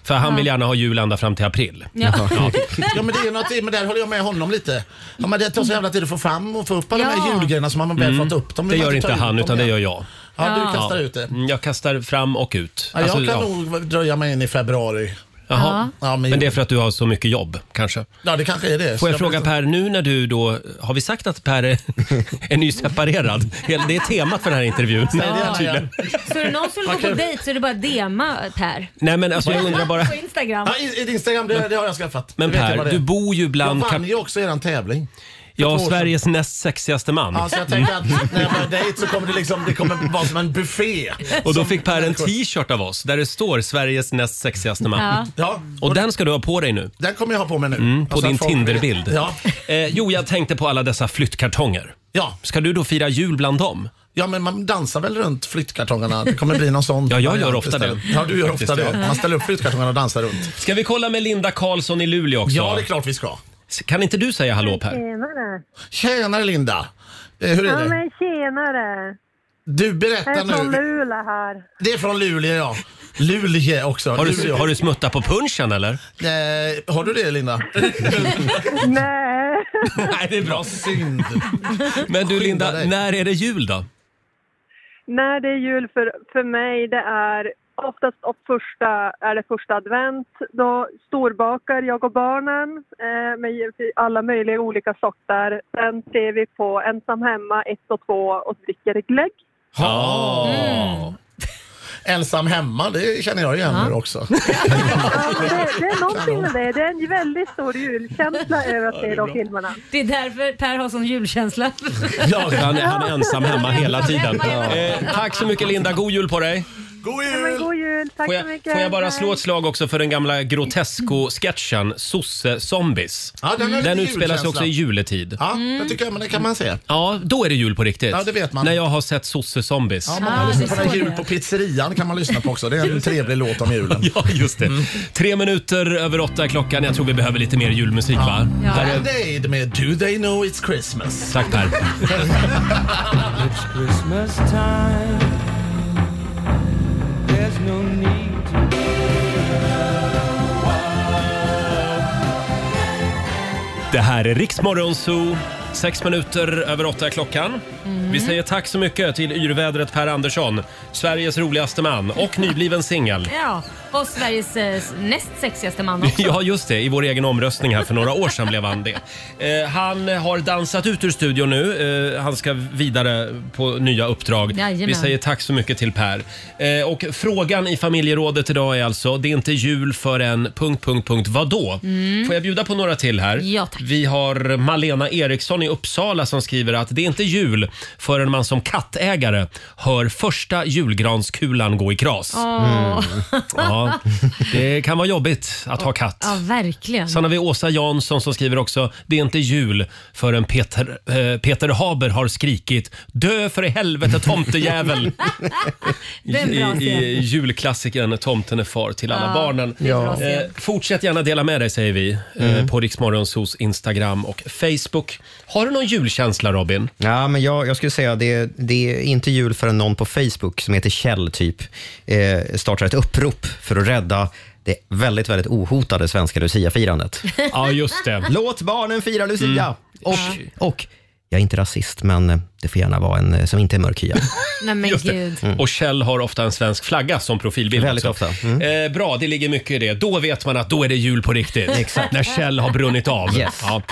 A: För han vill gärna ha jul ända fram till april.
C: Ja.
K: Ja men det är något, i- men där håller jag med honom lite. Ja, men det tar så jävla tid att få fram och få upp alla de
C: Ja.
K: här julgrejerna som man väl fått upp dem.
A: Mm. Det
K: Vill man
A: gör
K: ta
A: inte
K: ut
A: han,
K: dem
A: utan det
K: igen.
A: gör jag.
K: Ja, du
C: Ja.
K: kastar ut det.
A: Mm, Jag kastar fram och ut.
K: Ja, jag
A: Alltså,
K: kan
A: ja.
K: nog dröja mig in i februari.
A: Jaha.
K: Ja, men,
A: Men det är för att du har så mycket jobb, kanske?
K: ja, det kanske är det.
A: Får jag
K: Så
A: fråga
K: blir-
A: Per, nu när du då... Har vi sagt att Per
K: <laughs>
A: är, är nyseparerad? Det är temat för den här intervjun.
K: Nej, det är det igen.
C: Så är det någon som vill gå på dejt så är det bara DMa Per.
A: Nej, men alltså jag undrar bara...
C: På Instagram.
K: Ja, i- i Instagram, det, det har jag skaffat.
A: Men
K: Det vet jag vad
A: Per,
K: det är.
A: du bor ju bland...
K: Jag vann
A: Kap-
K: ju också eran tävling.
A: ja,
K: två år
A: Sveriges näst sexigaste man.
K: Ja, så jag tänkte att när jag börjar dejt så kommer det liksom, det kommer vara som en buffé.
A: Och då
K: Som
A: fick Per en
K: människor-
A: t-shirt av oss där det står Sveriges näst sexigaste man.
C: Ja.
K: Ja,
A: Och den ska du ha på dig nu.
K: den kommer jag ha på mig nu.
A: Mm, På
K: Alltså,
A: din
K: att folk-
A: Tinderbild.
K: Ja,
A: Eh, jo, jag tänkte på alla dessa flyttkartonger.
K: ja.
A: Ska du då fira jul bland dem?
K: Ja, men man dansar väl runt flyttkartongerna. Det kommer bli någon sån.
A: <laughs> Ja, jag gör ofta
K: istället.
A: det.
K: Ja, du gör
A: Faktiskt,
K: ofta
A: ja.
K: det. Man ställer upp flyttkartongerna och dansar runt.
A: Ska vi kolla med Linda Karlsson i Luleå också?
K: Ja, det är klart vi ska.
A: Kan inte du säga hallå Per?
L: Tjenare.
K: Tjenare Linda! Eh, Hur
L: Ja,
K: är det?
L: men tjenare.
K: Du
L: Jag är
K: berättar
L: från
K: nu.
L: Luleå här.
K: Det är från Luleå ja. Luleå också.
A: Har du,
K: Luleå.
A: har du smuttat på punchen eller?
K: Eh, har du det Linda?
L: Nej.
A: Nej, det är bra.
K: Synd.
A: Men du Linda,
K: dig.
A: när är det jul då?
L: När det är jul för, för mig, det är oftast och första, är det första advent. Då storbakar jag och barnen eh, med givetvis alla möjliga olika sorter. Sen ser vi på Ensam hemma 1 och 2 och dricker glögg.
K: Ja.
A: Mm.
K: Ensam hemma, det känner jag igen nu också.
L: Det, Alltså, det är någonting med det. Det är en väldigt stor julkänsla över att se de filmerna.
C: Det är därför Per har sån
A: <laughs>
C: julkänsla.
A: Ja, han, är, han är ensam hemma hela tiden. Eh, tack så mycket Linda, god jul på dig!
K: God
L: jul! men god jul! Tack
A: Får
L: så
A: jag,
L: mycket.
A: får jag bara
L: Hej.
A: slå ett slag också för den gamla Grotesco-sketchen Sosse-zombies.
K: Ja, den har lite
A: utspelar sig
K: julkänsla.
A: också i juletid.
K: Ja,
L: Mm.
K: det tycker jag, men det kan man se.
A: Ja, då är det jul på riktigt.
K: Ja, det vet man.
A: När jag har sett Sosse-zombies.
K: Ja, man kan lyssna på den jul på pizzerian kan man lyssna på också. Det är en trevlig låt om julen.
A: <laughs> Ja, just det. Tre minuter över åtta är klockan. Jag tror vi behöver lite mer julmusik, va?
K: Ja.
A: Här är-
K: Band Aid med Do They Know It's Christmas.
A: Tack Per.
M: It's Christmas time. There's no need to
A: Det här är Riksmorgon Zoo. Sex minuter över åtta är klockan. Vi säger tack så mycket till yrvädret Per Andersson, Sveriges roligaste man och nybliven singel.
C: Ja, och Sveriges eh, näst sexigaste man också.
A: <laughs> Ja, just det. I vår egen omröstning här för några år sedan blev han det. Eh, han har dansat ut ur studion nu. Eh, han ska vidare på nya uppdrag.
C: Jajamän.
A: Vi säger tack så mycket till Per. Eh, och frågan i familjerådet idag är alltså, det är inte jul förrän... Punkt, punkt, punkt, vadå?
C: Mm.
A: Får jag bjuda på några till här?
C: Ja, tack.
A: Vi har Malena Eriksson i Uppsala som skriver att det är inte jul förrän man som kattägare hör första julgranskulan gå i kras.
C: Åh.
A: Ja, det kan vara jobbigt att ha katt.
C: Ja, verkligen.
A: Sen har vi Åsa Jansson som skriver också “Det är inte jul förrän Peter, eh, Peter Haber har skrikit “Dö för i helvete tomtejävel!”
M: <laughs> Det är en
A: i,
M: bra scen.
A: i julklassikern “Tomten är far till alla
M: Ja,
A: barnen”.
M: det är en bra scen.
A: Eh, fortsätt gärna dela med dig säger vi eh, på Riksmorgonsos Instagram och Facebook. Har du någon julkänsla Robin?
F: Ja, men jag, jag skulle säga det, det är inte jul förrän någon på Facebook som heter Kjell typ eh, startar ett upprop för att rädda det väldigt, väldigt ohotade svenska <laughs> luciafirandet.
A: <laughs> Ja, just det.
F: Låt barnen fira lucia! Och, och jag är inte rasist, men eh, det får gärna vara en eh, som inte är mörkhyad.
C: Nej men
A: Just det. Mm.
C: gud.
A: Och Kjell har ofta en svensk flagga som profilbild.
F: Väldigt
A: också.
F: ofta. Mm.
A: Eh, bra, det ligger mycket i det. Då vet man att då är det jul på riktigt.
F: Exakt.
A: När Kjell har brunnit av.
F: Yes.
A: Ja.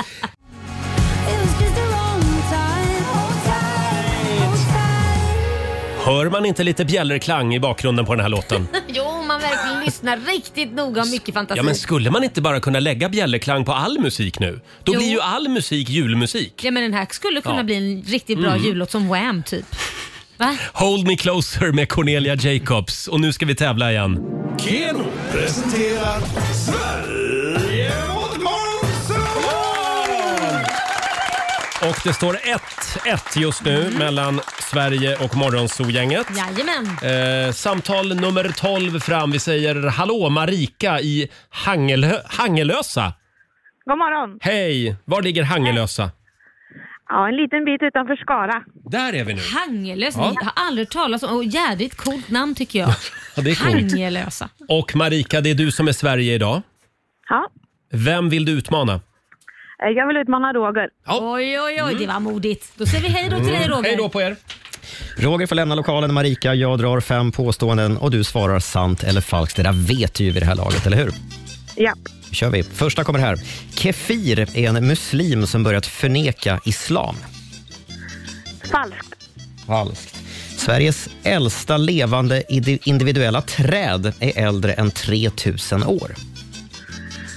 A: Hör man inte lite bjällerklang i bakgrunden på den här
C: <laughs>
A: låten?
C: <laughs> Jo, man verkligen lyssnar riktigt noga och mycket fantasi.
A: Ja, men skulle man inte bara kunna lägga bjällerklang på all musik nu? Då
C: Jo.
A: blir ju all musik julmusik.
C: Ja, men den här skulle kunna
A: Ja.
C: bli en riktigt bra
A: Mm.
C: jullåt som Wham typ.
A: <laughs>
C: Va?
A: Hold Me Closer med Cornelia Jacobs. Och nu ska vi tävla igen.
N: Keno presenterar Sverige mot Monster!
A: Och det står 1-1 just nu mellan Sverige och Morgonzoo-gänget.
C: Jajamän.
A: Eh, samtal nummer 12 fram. Vi säger hallå Marika i Hangelö- Hangelösa.
L: God morgon.
A: Hej! Var ligger Hangelösa?
L: Ja, en liten bit utanför Skara.
A: Där är vi nu.
C: Hangelös,
A: Ja.
C: jag har aldrig talat om. Och jädrigt coolt namn tycker jag.
A: Ja, <laughs> det är coolt.
C: Hangelösa.
A: Och Marika, det är du som är Sverige idag.
L: Ja.
A: Vem vill du utmana?
L: Eh, Jag vill utmana Roger.
C: Oj, oj, oj,
A: Mm.
C: det var modigt. Då säger vi hej då till dig Roger. Hej då
A: på er.
F: <laughs> Roger får lämna lokalen, Marika. Jag drar fem påståenden och du svarar sant eller falskt. Det där vet du ju vid det här laget, eller hur?
L: Ja.
F: Då kör vi. Första kommer här. Kefir är en muslim som börjat förneka islam.
L: Falskt.
F: Falskt. Sveriges äldsta levande indi- individuella träd är äldre än 3000 år.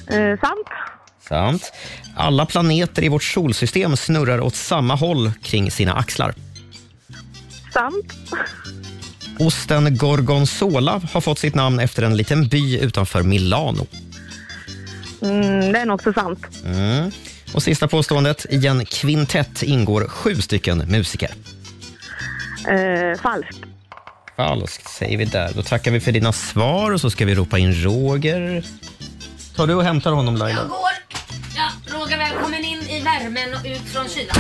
L: Eh, sant.
F: Sant. Alla planeter i vårt solsystem snurrar åt samma håll kring sina axlar.
L: Sant.
F: Osten gorgonzola har fått sitt namn efter en liten by utanför Milano.
L: Mm, det är nog också sant.
F: Mm. Och sista påståendet. I en kvintett ingår sju stycken musiker.
L: Eh, falskt.
F: Falskt säger vi där. Då tackar vi för dina svar och så ska vi ropa in Roger. Tar du och hämtar honom Laila?
C: går. Ja, Roger, välkommen in i värmen och ut från kylan.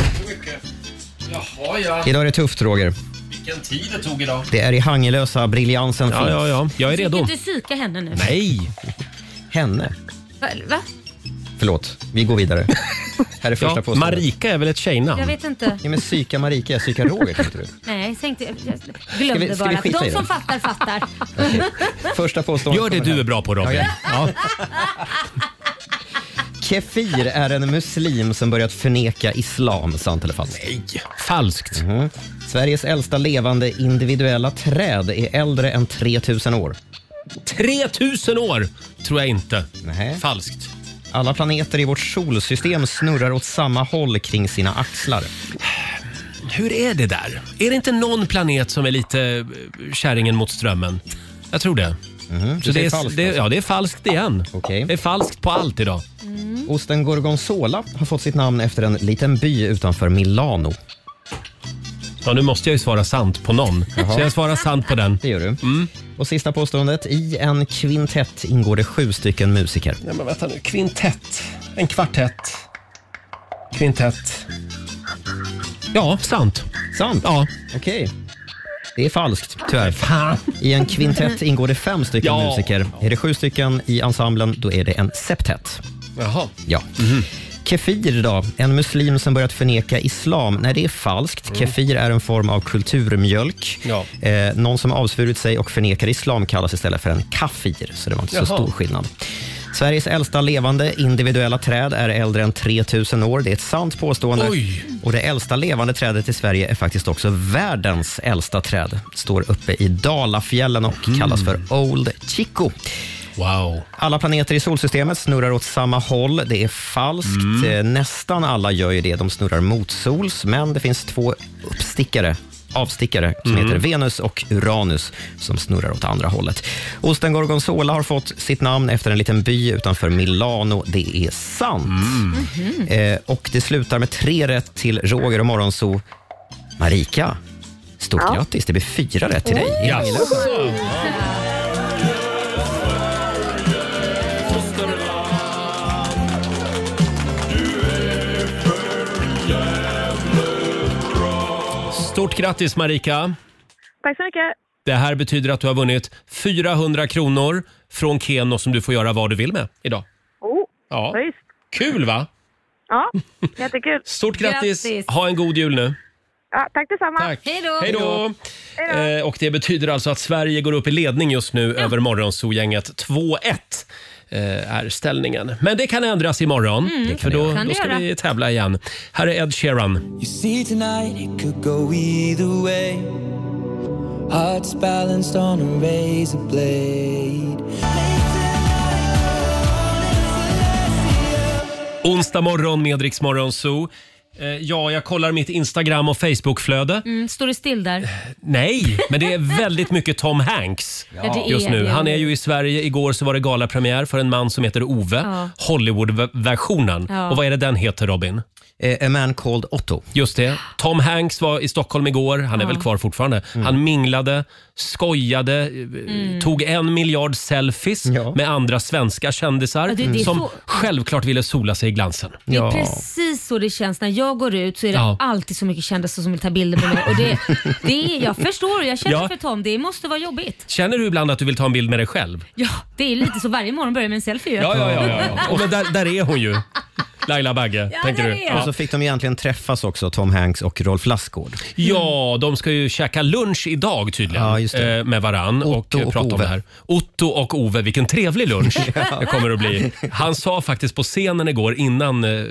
A: Jaha, ja.
F: Idag är det tufft Roger.
A: Vilken tid det tog idag.
F: Det är i Hangelösa briljansen
A: Ja, ja, ja. Jag är
C: Du kan inte psyka henne nu.
A: Nej!
F: Henne.
C: Va? Va?
F: Förlåt, vi går vidare. Här är första
A: Ja,
F: påståendet.
A: Marika är väl ett tjejnamn?
C: Jag vet inte.
F: Ja, men psyka Marika, psyka Roger tänkte du.
C: Nej, tänkte, jag glömde
F: Ska vi- ska vi
C: bara.
F: skita i
C: De
F: det?
C: som fattar, fattar.
F: Första påståendet
A: Gör det
F: kommer
A: du
F: här.
A: är bra på Robin. Ja,
F: Kefir är en muslim som börjat förneka islam, sant eller falskt? Nej,
A: falskt.
F: Mhm. Mm. Sveriges äldsta levande individuella träd är äldre än 3000 år.
A: 3000 år tror jag inte. Falskt.
F: Alla planeter i vårt solsystem snurrar åt samma håll kring sina axlar.
A: Hur är det där? Är det inte någon planet som är lite eh, kärringen mot strömmen? Jag tror det.
F: Mhm,
A: Så
F: du
A: det,
F: säger
A: är,
F: falskt
A: det,
F: alltså.
A: ja, det är falskt igen. Det är falskt på allt idag. Mm.
F: Osten gorgonzola har fått sitt namn efter en liten by utanför Milano.
A: Ja, nu måste jag ju svara sant på någon. Så jag svarar sant på den.
F: Det gör du.
A: Mm.
F: Och sista påståendet. I en kvintett ingår det sju stycken musiker.
A: Nej, men vänta nu. Kvintett. En kvartett. Kvintett. Ja, sant.
F: Sant?
A: Ja.
F: Okej. Det är falskt, tyvärr. I en kvintett ingår det fem stycken
A: Ja.
F: musiker. Är det sju stycken i ensemblen, då är det en septett.
A: Jaha.
F: Ja.
A: Mhm.
F: Kefir då? En muslim som börjat förneka islam. Nej, det är falskt.
A: Mm.
F: Kefir är en form av kulturmjölk. Eh, någon som avsvurit sig och förnekar islam kallas istället för en kafir, så det var inte så
A: Jaha.
F: stor skillnad. Sveriges äldsta levande individuella träd är äldre än 3000 år. Det är ett sant påstående.
A: Oj.
F: Och det äldsta levande trädet i Sverige är faktiskt också världens äldsta träd. Står uppe i Dalafjällen och
A: Mm.
F: kallas för Old Chico.
A: Wow.
F: Alla planeter i solsystemet snurrar åt samma håll. Det är falskt. Eh, Nästan alla gör ju det. De snurrar mot sols, men det finns två uppstickare avstickare som
A: Mm.
F: heter Venus och Uranus som snurrar åt andra hållet. Osten Gorgonzola har fått sitt namn efter en liten by utanför Milano. Det är sant.
I: Mhm.
F: Eh, och det slutar med tre rätt till Roger och Morgonzoo. Marika, stort
I: Ja.
F: grattis. Det blir fyra rätt till dig.
I: Oj. Jaså.
A: Stort grattis Marika.
L: Tack så mycket.
A: Det här betyder att du har vunnit 400 kronor från Keno som du får göra vad du vill med idag.
L: Oh,
A: Ja.
L: visst.
A: Kul va?
L: Ja, jättekul.
A: Stort grattis. Ha en god jul nu.
L: Ja, tack detsamma.
A: Tack.
L: Hej då.
A: Hej då! Eh, och det betyder alltså att Sverige går upp i ledning just nu över Morgonzoo-gänget. 2-1 eh, är ställningen. Men det kan ändras imorgon,
I: Mm, Det kan
A: för
I: det
A: då,
I: göra. Kan
A: då
I: det
A: ska
I: göra.
A: vi tävla igen. Här är Ed Sheeran.
I: You see tonight it could go either way Hearts balanced on a razor blade
A: Onsdag morgon med Rix Morgonzoo. Eh, Ja, jag kollar mitt Instagram och Facebookflöde.
C: Mm, står det still där?
A: Nej, men det är väldigt mycket Tom Hanks
C: Ja, det är
A: just nu.
C: det.
A: Han är ju i Sverige. Igår så var det galapremiär för en man som heter Ove.
C: Ja.
A: Hollywood-versionen.
C: Ja.
A: Och vad är det den heter, Robin?
F: Eh, A man called Otto.
A: Just det. Tom Hanks var i Stockholm igår. Han är
G: Ja.
A: väl kvar fortfarande. Han minglade, skojade, eh,
C: Mm.
A: tog en miljard selfies med andra svenska kändisar
C: Ja, det- det är
A: som
C: så-
A: självklart ville sola sig i glansen.
C: Det är precis så det känns. När jag går ut så är det
A: Ja.
C: alltid så mycket kändisar som vill ta bilder med mig. Och det, det är, jag förstår, jag känner
A: Ja.
C: för Tom. Det måste vara jobbigt.
A: Känner du ibland att du vill ta en bild med dig själv?
C: Ja, det är lite så varje morgon börjar med en selfie. ju.
A: Ja, ja, ja. ja, ja. <laughs> Och men där, där är hon ju. Laila Bagge,
C: Ja,
A: tänker
C: där
A: du?
C: är jag.
F: Och så fick de egentligen träffas också, Tom Hanks och Rolf Lassgård.
A: Ja, de ska ju käka lunch idag tydligen eh, med varann och, eh,
F: och
A: prata om
F: Ove.
A: det här. Otto och Ove, vilken trevlig
F: <laughs>
A: lunch det kommer att bli. Han sa faktiskt på scenen igår innan eh,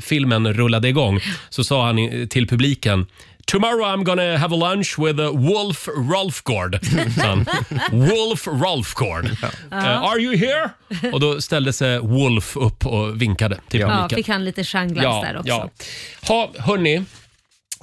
A: filmen rullade igång så sa han i- till publiken Tomorrow I'm gonna have a lunch with eh, Wolf Rolfgård. <laughs> sa han. Wolf Rolfgård. Eh, are you here? Och då ställde sig Wolf upp och vinkade till
C: Ja,
A: publiken.
C: fick han lite stjärnglans där också.
A: Ha, hörni.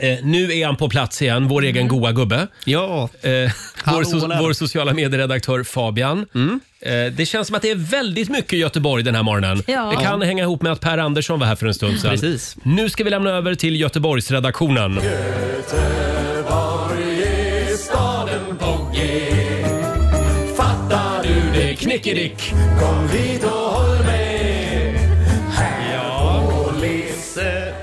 A: Eh, nu är han på plats igen, vår egen goa gubbe.
F: Ja.
A: Eh, vår, so
G: där.
A: vår sociala medieredaktör Fabian.
I: Mm.
A: Eh, det känns som att det är väldigt mycket Göteborg den här morgonen.
G: Ja.
A: Det kan
G: Ja.
A: hänga ihop med att Per Andersson var här för en stund sedan.
G: Precis.
A: Nu ska vi lämna över till Göteborgsredaktionen.
I: Göteborg är staden på G Fattar du det knickedick? Kom hit och håll med Här på Liseberg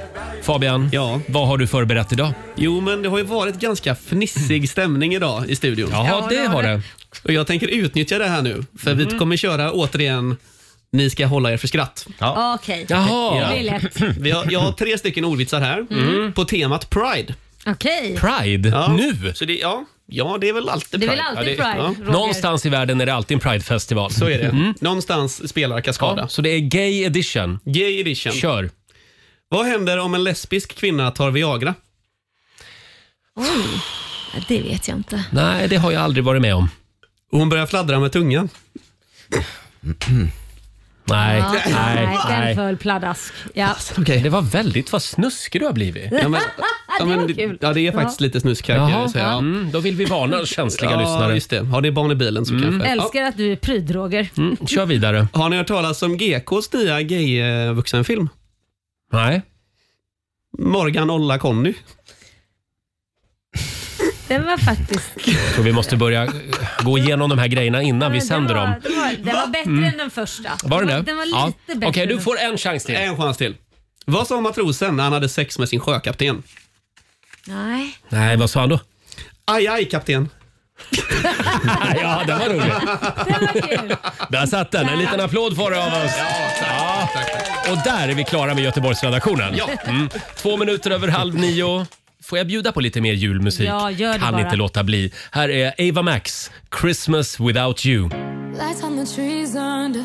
A: Fabian, vad har du förberett idag?
G: Jo, men det har ju varit ganska fnissig stämning idag i studion.
A: Ja, det har det.
G: Och jag tänker utnyttja det här nu, för vi
A: Mhm.
G: kommer köra återigen Ni ska hålla er för skratt.
C: Okej,
G: Ja.
C: det är lätt.
G: Vi har, jag har tre stycken ordvitsar här
C: Mm.
G: på temat Pride.
C: Okej.
G: Pride?
A: Nu?
G: Så det, ja,
I: Ja, det är väl alltid
C: Det är
I: Pride.
C: väl alltid
I: ja,
C: Pride, Roger.
A: Någonstans i världen är det alltid en Pride-festival. Så
I: är det.
A: Mm.
I: Någonstans spelar Cascada.
A: så det är gay edition.
I: Gay edition.
A: Kör.
I: Vad händer om en lesbisk kvinna tar Viagra?
O: Oj, det vet jag inte.
A: Nej, det har jag aldrig varit med om.
I: Hon börjar fladdra med tungan.
A: Nej,
C: Ja,
A: nej,
C: Den
A: nej.
C: föll pladask. Ja.
A: Det var väldigt vad snuskig du har blivit.
I: Ja, men-
C: det var
I: men,
C: kul.
I: ja, det är faktiskt lite snusk här kan jag
A: Jaha.
I: ju säga.
A: Ja. Mm, då vill vi varna känsliga
I: ja,
A: lyssnare.
I: Just det. Har ni barn i bilen så kanske. Ja.
C: Älskar att du är pryd Roger.
A: Mm, Kör vidare.
I: Har ni hört talas om GKs nya gay-vuxenfilm?
A: Nej.
I: Morgan Olla Conny.
C: Den var faktiskt...
A: Jag tror vi måste börja eh, gå igenom de här grejerna innan vi sänder dem.
C: Den var, den var bättre
A: Mm.
C: än den första.
A: Var den det?
C: Den var lite
I: Ja.
C: bättre. än den första.
A: en chans till.
I: En chans till. Vad sa matrosen när han hade sex med sin sjökapten?
O: Nej.
A: Nej, vad sa han då?
I: Aj, aj kapten.
A: ja, den var rolig. Där satt den. En liten applåd får du av oss. Ja. Och där är vi klara med Göteborgsredaktionen.
I: Ja.
A: Mm. Två minuter över halv nio. Får jag bjuda på lite mer julmusik?
O: Ja, gör det
A: kan
O: bara.
A: inte låta bli. Här är Ava Max, Christmas without you.
O: Lights on the trees under.